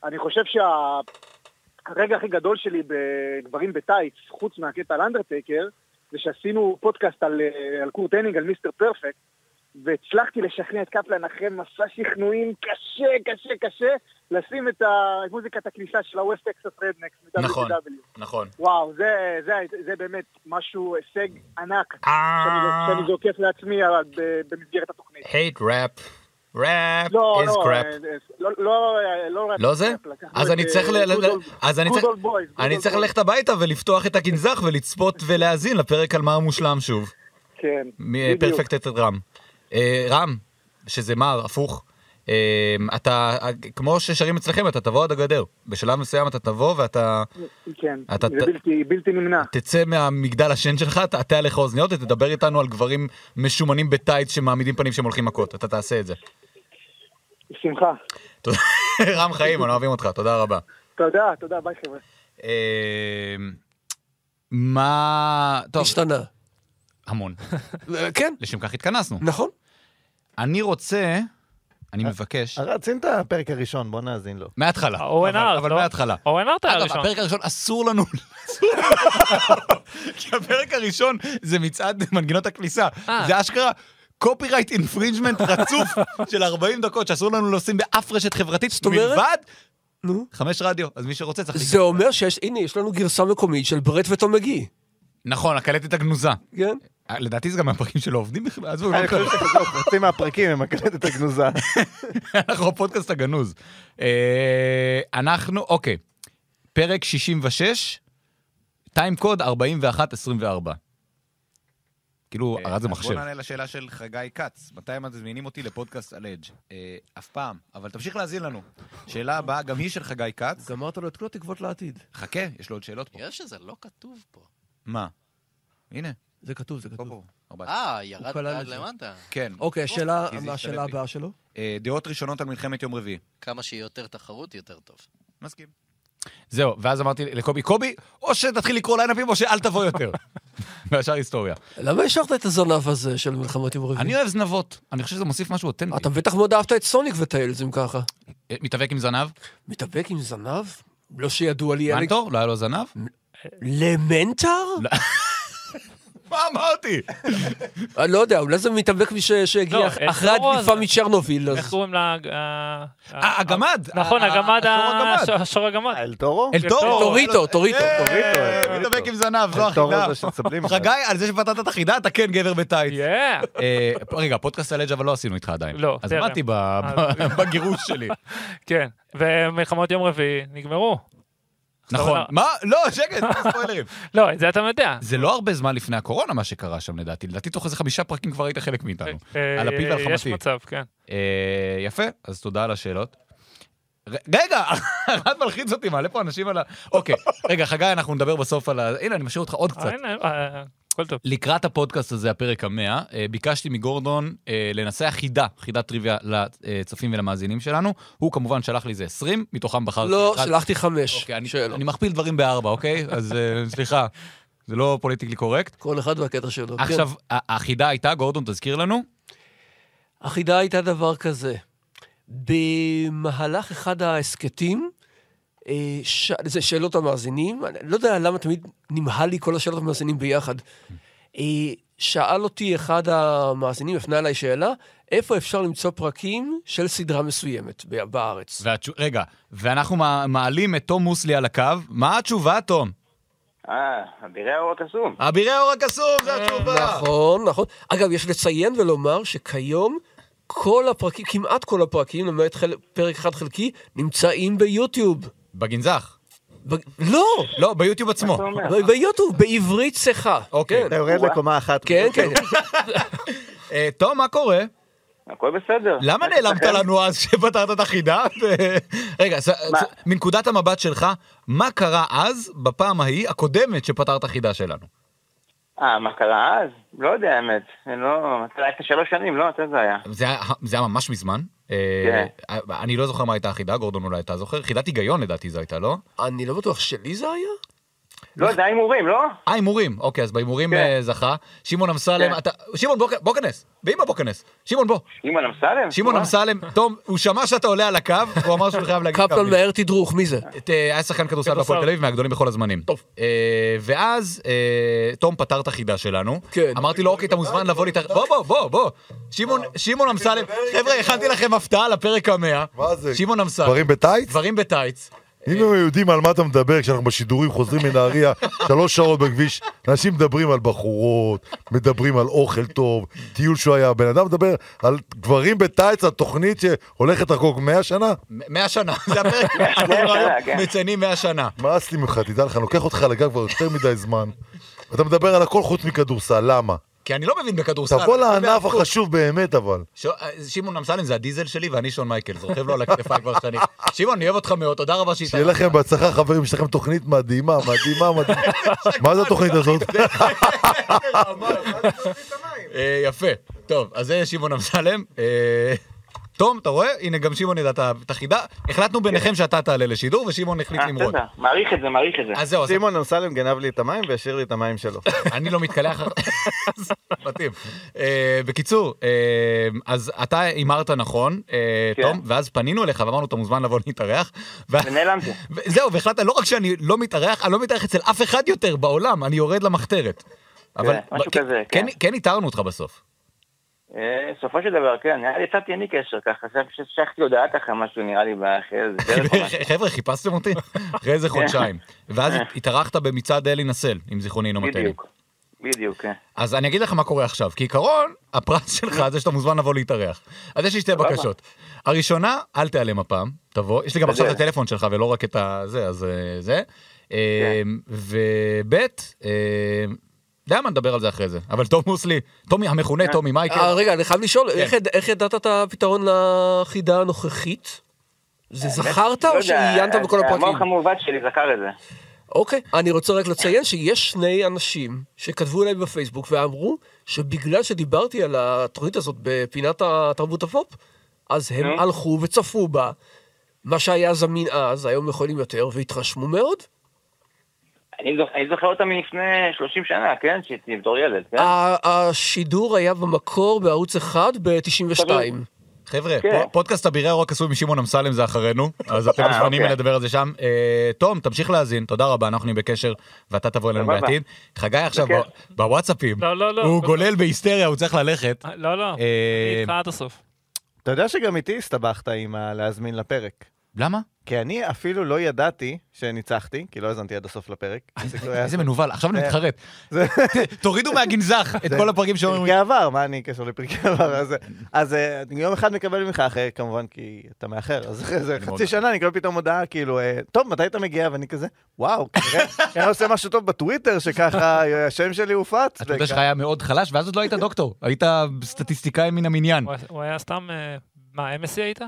A: אני חושב שהרגע הכי גדול שלי בגברים בטייץ, חוץ מהקטע על אנדרטייקר, זה שעשינו פודקאסט על, אה, על קורט הנינג, על מיסטר פרפקט, והצלחתי לשכנע את קפלן אחרי מסע שכנועים קשה, קשה, קשה, לשים את ה- את מוזיקת הכניסה של ה-West Texas Rednecks מ-WCW.
C: נכון, נכון.
A: וואו, זה, זה, זה באמת משהו, הישג ענק
C: אה.
A: שאני- שאני זוקף לעצמי אבל ב- במסגרת התוכנית.
C: hate rap. rap
A: לא,
C: is
A: לא,
C: crap.
A: אה, אה, לא, לא, אה, לא רק
C: לא זה?
A: crap, לקחנו
C: אז
A: את,
C: אני
A: אה,
C: צריך ל...
A: good
C: ל-
A: old-
C: אז אני
A: good
C: צריך...
A: old boys, good
C: אני
A: old
C: צריך
A: boys.
C: ללכת הביתה ולפתוח את הגנזך ולצפות ולהאזין לפרק על מר מושלם שוב.
A: כן, בדיוק.
C: מפרפקט את רם. אה, רם, שזה מר, הפוך. אה, אתה, אה, כמו ששרים אצלכם, אתה תבוא עד הגדר. בשלב מסוים אתה תבוא ואתה
A: כן,
C: אתה-
A: זה בלתי, בלתי נמנע.
C: תצא מהמגדל השן שלך, תעטה עליך אוזניות ותדבר איתנו על גברים משומנים בטייץ שמעמידים פנים שהם הולכים מכות. אתה תעשה את זה.
A: בשמחה.
C: תודה. רם חיים, אנחנו אוהבים אותך, תודה רבה.
A: תודה, תודה, ביי חבר'ה.
C: אה, מה... טוב.
F: השתנה.
C: המון.
F: כן.
C: לשם כך התכנסנו.
F: נכון.
C: אני רוצה, אני מבקש,
N: ארד, שים אה, את הפרק הראשון, בוא נאזין לו.
C: מההתחלה.
E: אורן
C: אבל-
E: ארט,
C: אבל
E: לא?
C: מההתחלה.
E: אורן ארט היה
C: אגב,
E: הראשון.
C: הפרק הראשון אסור לנו... כי הפרק הראשון זה מצעד מנגינות הכניסה.
E: אה.
C: זה אשכרה קופירייט אינפרינג'מנט רצוף של 40 דקות שאסור לנו לשים באף רשת חברתית,
F: אומרת?
C: מלבד
F: נו.
C: חמש רדיו. אז מי שרוצה צריך...
F: זה אומר שיש, הנה, יש לנו גרסה מקומית של ברט וטום מגי.
C: נכון, הקלטת הגנוזה. אה,
F: כן.
C: לדעתי זה גם מהפרקים שלא עובדים בכלל, עזבו, לא
N: אני חושב
C: משנה.
N: שחזרו חצי מהפרקים הם הקלטת הגנוזה.
C: אנחנו הפודקאסט הגנוז. אה, אנחנו, אוקיי, פרק 66, טיים קוד 41-24. כאילו,
B: אה,
C: ארד זה
B: אז
C: מחשב.
B: בוא נענה לשאלה של חגי כץ. מתי מזמינים אותי לפודקאסט על אדג'? אה, אף פעם, אבל תמשיך להאזין לנו. שאלה הבאה, גם היא של חגי כץ.
P: גמרת לו את כל התקוות לעתיד.
B: חכה, יש לו עוד שאלות פה.
I: יש שזה לא כתוב פה.
B: מה? הנה.
P: זה כתוב, זה כתוב.
I: אה, ירד
P: הוא כלל
I: עד
P: את זה.
I: למטה.
B: כן.
P: אוקיי, השאלה-
B: כי זה
P: מה השאלה
B: השתלט לי.
P: הבאה שלו?
B: אה, דעות ראשונות על מלחמת יום רביעי.
I: כמה שיהיה יותר תחרות, יותר טוב.
B: מסכים.
C: זהו, ואז אמרתי לקובי, קובי, או שתתחיל לקרוא ליינאפים או שאל תבוא יותר. והשאר היסטוריה.
F: למה השארת את הזנב הזה של מלחמות יום רביעי?
C: אני אוהב זנבות, אני חושב שזה מוסיף משהו אותנטי. אה,
F: אתה בטח מאוד אהבת את סוניק וטיילס, אם ככה.
C: מתאבק עם זנב?
F: מתאבק עם זנב? לא שידוע לי...
C: מנטור? לא היה לו זנב? לא.
F: למנטר?
C: מה אמרתי?
F: אני לא יודע, אולי זה מתאבק מש-
E: לא,
F: שהגיע אח-
E: אה,
F: אחרי
E: לא,
F: הדליפה
E: אז-
F: מצ'רנוביל. אז-
E: איך קוראים לה... אה,
C: אה, הגמד.
E: נכון,
C: אה,
E: הגמד,
C: השור
E: ה-
C: הגמד.
E: הש- השור הגמד.
N: אה, אל תורו?
C: אל תורו.
F: טוריטו, טוריטו.
C: אה,
F: טוריטו,
N: אה,
C: מתאבק עם זנב, זו
N: אל תורו
C: החידה.
N: זה שצבלים.
C: חגי, על אה, זה שפתרת את החידה, אתה כן גבר בטייץ. אה, רגע, פודקאסט על אג' אבל לא אה, עשינו איתך עדיין.
E: לא,
C: אז
E: טרם.
C: באתי ב-
E: אז-
C: בגירוש שלי.
E: כן, ומלחמות יום רביעי נגמרו.
C: נכון.
E: עכשיו,
C: מה? לא, שקט, ספוילרים.
E: לא, את זה אתה יודע.
C: זה לא הרבה זמן לפני הקורונה מה שקרה שם לדעתי, לדעתי תוך איזה חמישה פרקים כבר היית חלק מאיתנו.
E: אה,
C: על הפיל ועל חמתי.
E: יש מצב, כן.
C: אה, יפה, אז תודה על השאלות. ר- רגע, אחד מלחיץ אותי, מעלה פה אנשים על ה... אוקיי, רגע, חגי, אנחנו נדבר בסוף על ה... הנה, אני משאיר אותך עוד
E: אה,
C: קצת.
E: הנה, אה, הכל טוב.
C: לקראת הפודקאסט הזה, הפרק המאה, אה, ביקשתי מגורדון אה, לנסח חידה, חידת טריוויה לצופים ולמאזינים שלנו. הוא כמובן שלח לי איזה 20, מתוכם בחרתי
F: לא,
C: אוקיי, אחד.
F: שלחתי חמש.
C: אוקיי, אני- אני מכפיל דברים בארבע, אוקיי? אז אה, סליחה, זה לא פוליטיקלי קורקט.
F: כל אחד והקטע שלו. כן.
C: עכשיו, ה- החידה הייתה, גורדון, תזכיר לנו.
F: החידה הייתה דבר כזה. במהלך אחד ההסכתים, אה, ש... זה שאלות המאזינים, אני לא יודע למה תמיד נמהל לי כל השאלות המאזינים ביחד. אה, שאל אותי אחד המאזינים, הפנה אליי שאלה, איפה אפשר למצוא פרקים של סדרה מסוימת ב- בארץ?
C: והתשו- רגע, ואנחנו מע- מעלים את תום מוסלי על הקו. מה התשובה, תום?
O: אה, אבירי האור הקסום.
C: אבירי האור הקסום, זו התשובה.
F: נכון, נכון. אגב, יש לציין ולומר שכיום כל הפרקים, כמעט כל הפרקים, למעט חל... פרק אחד חלקי, נמצאים ביוטיוב.
C: בגנזך.
F: ב... לא!
C: לא, ביוטיוב עצמו.
F: ב- ביוטיוב, בעברית צחה.
C: אוקיי.
F: אתה יורד
N: לקומה אחת.
F: כן, כן.
C: אה, תום, מה קורה?
O: הכל בסדר. כן.
C: למה נעלמת לנו אז כשפתרת את החידה? רגע, ס- ס- מנקודת המבט שלך, מה קרה אז, בפעם ההיא, הקודמת, שפתרת חידה שלנו?
O: אה, מה קרה אז? לא יודע האמת. אני לא... אתה היית שלוש שנים, לא? מתי זה היה?
C: זה היה- זה היה ממש מזמן.
O: כן.
C: אה, אני לא זוכר מה הייתה החידה, גורדון אולי אתה זוכר. חידת היגיון לדעתי זו הייתה, לא?
F: אני לא בטוח שלי זה היה.
O: לא, זה היה הימורים, לא?
C: אה, הימורים. אוקיי, אז בהימורים אה, זכה. שמעון אמסלם,
O: כן.
C: אתה... שמעון, בוא- בוא כנס. באמא בוא כנס. שמעון, בוא.
O: שמעון אמסלם?
C: שמעון אמסלם, תום, הוא שמע שאתה עולה על הקו, הוא אמר שהוא חייב להגיד כמה
F: קפלן
C: מילים.
F: מהר תדרוך, מי זה?
C: את, אה, היה שחקן כדורסל בהפועל תל אביב מהגדולים בכל הזמנים. טוב. ואז אה, תום פתר את החידה שלנו.
F: כן.
C: אמרתי לו, אוקיי, אתה מוזמן לבוא להתארח... בוא, בוא, בוא, בוא. שמעון-
X: אה, כן,
C: שמעון אמסלם, חבר'ה, הכנתי לכם הפתעה לפרק המאה. מה זה? שמעון אמסלם.
X: דברים בטייץ?
C: דברים בטייץ.
X: אם הם יודעים על מה אתה מדבר כשאנחנו בשידורים חוזרים מנהריה, שלוש שעות בכביש, אנשים מדברים על בחורות, מדברים על אוכל טוב, טיול שהוא היה, הבן אדם מדבר על גברים בטייץ, התוכנית שהולכת לחגוג 100 שנה?
C: מ- מאה שנה, זה הפרק. אנחנו היום כן. מציינים מאה שנה.
X: מאס לי ממך, תדע לך, אני לוקח אותך לגג כבר יותר מדי זמן, ואתה מדבר על הכל חוץ מכדורסל, למה?
C: כי אני לא מבין בכדורסל.
X: תבוא
C: אני מבין
X: לענף
C: באליפות.
X: החשוב באמת, אבל.
C: ש- אה, שמעון אמסלם זה הדיזל שלי ואני שון מייקלס, רוכב לו על הכתפיים כבר שנים. שמעון, אני אוהב אותך מאוד, תודה רבה שהתארחת.
X: שיהיה לכם בהצלחה, חברים, יש לכם תוכנית מדהימה, מדהימה, מדהימה. מה זה התוכנית הזאת?
C: אה, יפה. טוב, אז זה שמעון אמסלם. אה, תום, אתה רואה? הנה, גם שמעון ידע את ה- את החידה. החלטנו
O: כן.
C: ביניכם שאתה תעלה לשידור, ושמעון החליט
O: אה,
C: למרוד.
O: מעריך את זה, מעריך את זה.
C: אז זהו, אז-
D: סימון אמסלם גנב לי את המים והשאיר לי את המים שלו.
C: אני לא מתקלח. מתאים. אה, בקיצור, אה, אז אתה הימרת נכון, אה,
O: כן.
C: תום, ואז פנינו אליך ואמרנו, אתה מוזמן לבוא להתארח. ו-
O: ונעלמתי.
C: זהו, והחלטת, לא רק שאני לא מתארח, אני לא מתארח אצל אף אחד יותר בעולם, אני יורד למחתרת. אבל
O: משהו
C: כן-
O: כזה,
C: כן-
O: כן.
C: כן איתרנו אותך בסוף.
O: אה, בסופו של דבר, כן, נראה לי יצאתי אני קשר ככה, ששכתי הודעה ככה, משהו נראה לי באחרי איזה דרך. או משהו.
C: חבר'ה, חיפשתם אותי? אחרי איזה חודשיים. ואז התארחת במצעד אלי נסל, אם זיכרוני אינו מטעה. לי.
O: בדיוק. בדיוק, כן.
C: אז אני אגיד לך מה קורה עכשיו, כי עיקרון, הפרס שלך זה שאתה מוזמן לבוא להתארח. אז יש לי שתי
O: סבבה.
C: בקשות. הראשונה, אל תיעלם הפעם, תבוא. יש לי גם עכשיו את
O: בסדר.
C: הטלפון שלך ולא רק
F: כן.
C: את הזה, אז אה, זה. אה, וב', אה, יודע מה, נדבר על זה אחרי זה. אבל תום מוסלי, תומי המכונה תומי מייקל.
F: אה, רגע, אני חייב לשאול,
C: כן.
F: איך יד- איך ידעת את הפתרון לחידה הנוכחית? זה זכרת
O: לא
F: או
O: יודע,
F: שעיינת בכל הפרקים?
O: המוח המעוות שלי זכר את זה.
F: אוקיי, אני רוצה רק לציין שיש שני אנשים שכתבו אליי בפייסבוק ואמרו שבגלל שדיברתי על התוכנית הזאת בפינת התרבות הפופ, אז הם
O: נו.
F: הלכו וצפו בה. מה שהיה זמין אז, היום יכולים יותר, והתרשמו מאוד.
O: אני זוכ- אני זוכר אותה מלפני 30 שנה, כן? שהייתי בתור ילד, כן?
F: ה- השידור היה במקור בערוץ 1 ב-92.
C: חבר'ה,
O: כן.
C: פו- פודקאסט הבירה הרוק עשוי עם שמעון אמסלם זה אחרינו, אז אתם
F: אה,
C: מוזמנים
F: אוקיי.
C: לדבר על זה שם. אה, תום, תמשיך להאזין, תודה רבה, אנחנו נהיה בקשר, ואתה תבוא אלינו
E: סבבה.
C: בעתיד. חגי עכשיו
E: בכיף.
C: ב- בוואטסאפים,
E: לא, לא, לא.
C: הוא גולל בהיסטריה, הוא צריך ללכת.
E: לא, לא,
C: אה,
E: אני איתך עד הסוף.
D: אתה יודע שגם איתי הסתבכת עם ה- להזמין לפרק.
C: למה?
D: כי אני אפילו לא ידעתי שניצחתי, כי לא האזנתי עד הסוף לפרק. איזה-
E: אה,
C: איזה אה, מנוול, עכשיו אני
D: זה-
C: מתחרט.
D: אה, זה-
C: תורידו מהגנזך את
D: זה
C: כל הפרקים שאומרים...
D: פרקי עבר, מה אני קשור לפרקי עבר? אז- אז אה, אני יום אחד מקבל ממך אחרי, כמובן, כי אתה מאחר, אז אחרי זה
C: אני מאוד- נכון.
D: חצי שנה אני מקבל פתאום הודעה, כאילו, אה, טוב, מתי אתה מגיע? ואני כזה, וואו, כנראה אני עושה משהו טוב בטוויטר, שככה אה, השם שלי הופץ.
C: אתה יודע שלך היה מאוד חלש, ואז עוד לא היית דוקטור, היית סטטיסטיקאי מן המניין.
E: הוא היה- הוא היה סתם... אה, מה, MSC היית?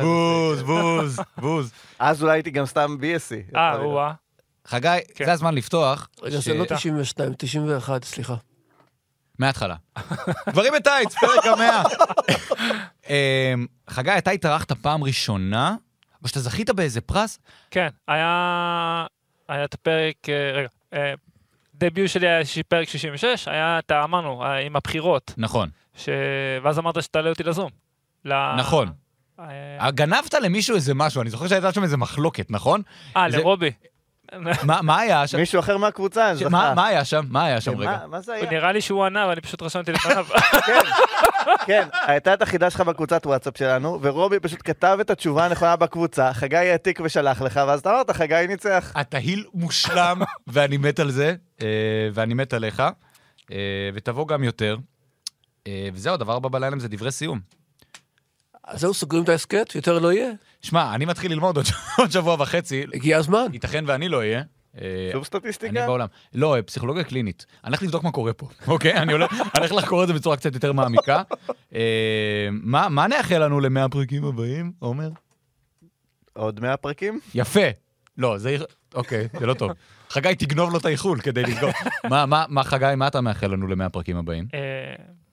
C: בוז, בוז, בוז.
D: אז אולי הייתי גם סתם BSC.
E: אה, הוא אה.
C: חגי, זה הזמן לפתוח.
F: רגע,
C: ש-
F: זה לא 92, 91, סליחה.
C: מההתחלה. גברים בטייץ, פרק המאה. אמ, חגי, אתה התארחת פעם ראשונה, או שאתה זכית באיזה פרס?
E: כן, היה... היה את הפרק... אה, רגע. אה, דביוט שלי היה ש- פרק 66, היה, אתה אמרנו, אה, עם הבחירות.
C: נכון,
E: ש... ואז אמרת שתעלה אותי לזום. ל-
C: נכון.
E: אה,
C: גנבת למישהו איזה משהו, אני זוכר שהייתה שם איזה מחלוקת, נכון?
E: אה,
C: זה-
E: לרובי.
C: מה מה היה שם?
D: מישהו אחר מהקבוצה,
C: ש- מה מה היה שם? מה היה שם רגע?
D: אה, מה זה היה?
E: נראה לי שהוא ענה, ואני פשוט רשמתי לפניו.
D: כן, הייתה את החידה שלך בקבוצת וואטסאפ שלנו, ורובי פשוט כתב את התשובה הנכונה בקבוצה, חגי העתיק ושלח לך, ואז אתה אמרת, חגי ניצח.
C: התהיל מושלם, ואני מת על זה, אה, ואני מת עליך, אה, ותבוא גם יותר. אה, וזהו, דבר הבא בלילה זה דברי סיום.
F: אז זהו, סוגרים את ההסכת, יותר לא יהיה.
C: שמע, אני מתחיל ללמוד עוד- עוד שבוע וחצי.
F: הגיע הזמן.
C: ייתכן ואני לא אהיה. אה,
D: שוב סטטיסטיקה?
C: אני בעולם. לא, אה, פסיכולוגיה קלינית. אני הולך לבדוק מה קורה פה, אוקיי? אני הולך אני הולך לחקור את זה בצורה קצת יותר מעמיקה. אה, מה מה נאחל לנו למאה הפרקים הבאים, עומר?
D: עוד 100 פרקים?
C: יפה. לא, זה... אוקיי, זה לא טוב. חגי, תגנוב לו את האיחול כדי לסגור. מה- מה- מה, חגי, מה אתה מאחל לנו למאה הפרקים הבאים?
E: אה,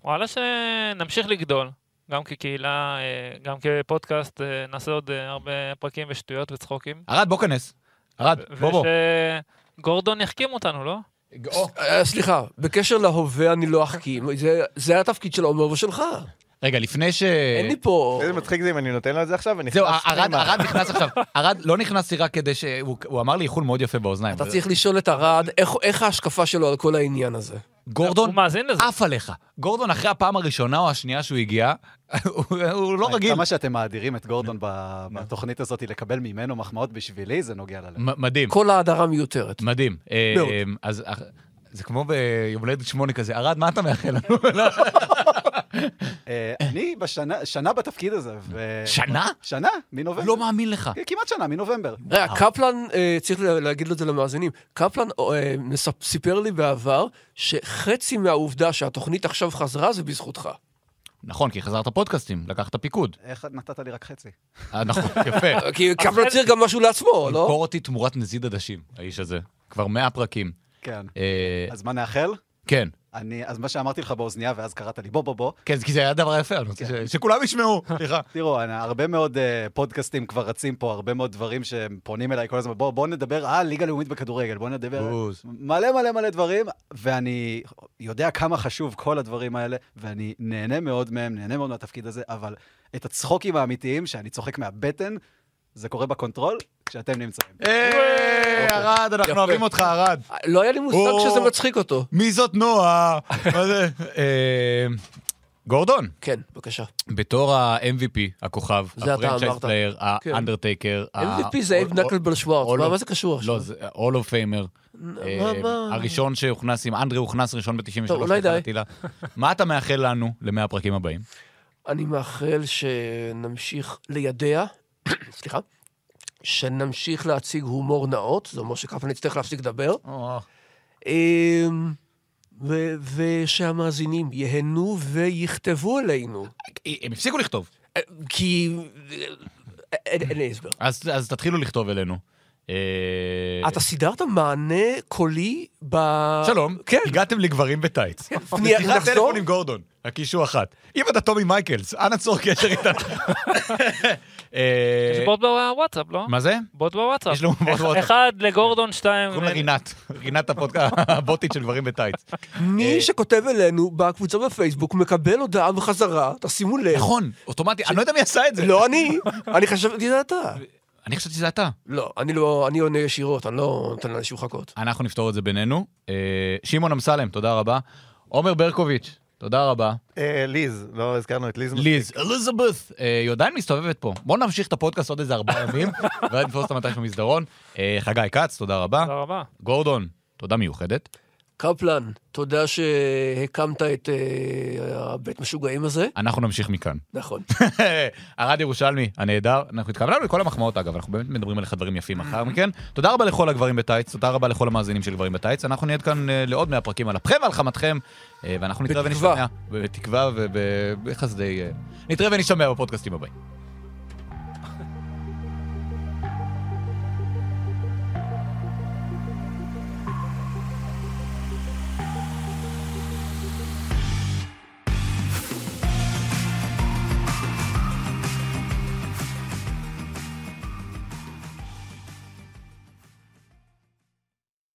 E: וואלה שנמשיך לגדול, גם כקהילה, אה, גם כפודקאסט, אה, נעשה עוד אה, הרבה פרקים ושטויות וצחוקים.
C: ערד, בוא כנס. ערד, בוא בוא.
E: ושגורדון יחכים אותנו, לא?
F: אה, סליחה, בקשר להווה אני לא אחכים, זה- זה התפקיד של עומר ושלך.
C: רגע, לפני ש...
F: אין לי פה...
D: איזה מצחיק זה אם אני נותן לו את זה עכשיו, ונכנס...
C: זהו, ערד ערד נכנס עכשיו. ערד, לא נכנסתי רק כדי ש... הוא הוא אמר לי איחול מאוד יפה באוזניים.
F: אתה צריך לשאול את ארד, איך- איך ההשקפה שלו על כל העניין הזה?
C: גורדון,
E: הוא מאזין לזה.
C: עף עליך. גורדון, אחרי הפעם הראשונה או השנייה שהוא הגיע, הוא- הוא לא רגיל.
H: אה, כמה שאתם מאדירים את גורדון ב- בתוכנית הזאת, לקבל ממנו מחמאות בשבילי, זה נוגע ללב.
C: מ- מדהים.
F: כל ההדרה מיותרת.
C: מדהים. אה,
H: מאוד.
C: אה, אז אח- זה כמו ביום הולדת שמונה כזה, ערד, מה אתה מאחל לנו? לא.
H: אה, אני בשנה שנה בתפקיד הזה. ו-
C: שנה?
H: שנה, מנובמבר.
C: לא מאמין לך.
H: כמעט שנה, מנובמבר.
F: רגע, קפלן, אה, צריך לה- להגיד לו את זה למאזינים, קפלן אה, מספ- סיפר לי בעבר שחצי מהעובדה שהתוכנית עכשיו חזרה זה בזכותך.
C: נכון, כי חזרת פודקאסטים, לקחת פיקוד.
H: איך נתת לי רק חצי?
C: אה, נכון, יפה.
F: כי קפלן צריך גם משהו לעצמו, לא?
C: ימכור אותי תמורת נזיד עדשים, האיש הזה. כבר 100 פרקים.
H: כן.
C: אה,
H: אז מה נאחל?
C: כן.
H: אני, אז מה שאמרתי לך באוזנייה, ואז קראת לי, בוא, בוא, בוא.
C: כן, כי זה היה דבר יפה, אני רוצה
H: כן.
C: ש- שכולם ישמעו, סליחה.
H: תראו, אני- הרבה מאוד אה, פודקאסטים כבר רצים פה, הרבה מאוד דברים שהם פונים אליי כל הזמן, בואו בוא נדבר על ליגה לאומית בכדורגל, בואו נדבר על
C: בוז.
H: מלא מלא מלא דברים, ואני יודע כמה חשוב כל הדברים האלה, ואני נהנה מאוד מהם, נהנה מאוד מהתפקיד הזה, אבל את הצחוקים האמיתיים, שאני צוחק מהבטן, זה קורה בקונטרול, כשאתם נמצאים. אוקיי.
C: היי, אה, ערד, אנחנו
H: יפה.
C: אוהבים אותך, ערד.
F: לא היה לי מושג
C: או.
F: שזה מצחיק אותו.
C: מי זאת נועה? מה זה? אה, גורדון.
F: כן, בבקשה.
C: בתור ה-MVP, הכוכב,
F: זה אתה
C: הפרנצ'ייז
F: אמרת.
C: פלייר,
F: כן.
C: האנדרטייקר.
F: MVP זה אייב נקלבל שוורץ, מה- מה זה קשור עכשיו?
C: לא, זה All of Famer. אה,
F: מה-
C: הראשון שהוכנס, עם אנדרי הוכנס ראשון ב-93.
F: טוב, אולי די.
C: מה אתה מאחל לנו למאה הפרקים הבאים?
F: אני מאחל שנמשיך לידע, סליחה, שנמשיך להציג הומור נאות, זה אומר שכפלן יצטרך להפסיק לדבר. אמ, ו- ושהמאזינים ייהנו ויכתבו עלינו.
C: הם הפסיקו לכתוב.
F: כי... אין אין לי הסבר.
C: אז אז תתחילו לכתוב אלינו. אה,
F: אתה סידרת מענה קולי ב...
C: שלום, הגעתם לגברים בטייץ.
F: פנייה-
C: שיחת
F: נחזור?
C: טלפון עם גורדון, הקישור אחת. אם אתה טומי מייקלס, אנא צור קשר איתנו. אה,
E: יש בוט בוואטסאפ, לא?
C: מה זה?
E: בוט בוואטסאפ.
C: יש לנו בוט
E: אח-
C: בוואטסאפ.
E: אחד לגורדון, שתיים...
C: קוראים לה רינת, רינת הפודקאסט, הבוטית של גברים בטייץ. אה,
F: מי שכותב אלינו בקבוצה בפייסבוק מקבל הודעה בחזרה, תשימו לב.
C: נכון, אוטומטי, אני לא יודע מי עשה את זה.
F: לא אני, אני חשבתי שזה אתה.
C: אני חשבתי שזה אתה.
F: לא, אני לא, אני עונה ישירות, אני לא נותן לאנשים לחכות.
C: אנחנו נפתור את זה בינינו. אה, שמעון אמסלם, תודה רבה. עומר ברקוביץ', תודה רבה.
N: אה, ליז, לא הזכרנו את ליז.
C: ליז, אליזבת, אה, היא עדיין מסתובבת פה. בואו נמשיך את הפודקאסט עוד איזה ארבעה ימים, ואז נתפוס אותה מתישהו במסדרון. אה, חגי כץ, תודה רבה.
E: תודה רבה.
C: גורדון, תודה מיוחדת.
F: קפלן, תודה שהקמת את אה, הבית משוגעים הזה.
C: אנחנו נמשיך מכאן.
F: נכון.
C: ערד ירושלמי, הנהדר. אנחנו התכווננו לכל המחמאות, אגב, אנחנו באמת מדברים עליך דברים יפים אחר מכן. תודה רבה לכל הגברים בטייץ, תודה רבה לכל המאזינים של גברים בטייץ. אנחנו נהיה כאן אה, לעוד 100 פרקים על אפכם ועל חמתכם, אה, ואנחנו נתראה ונשתמע. בתקווה ובחסדי... אה, נתראה ונשתמע בפודקאסטים הבאים.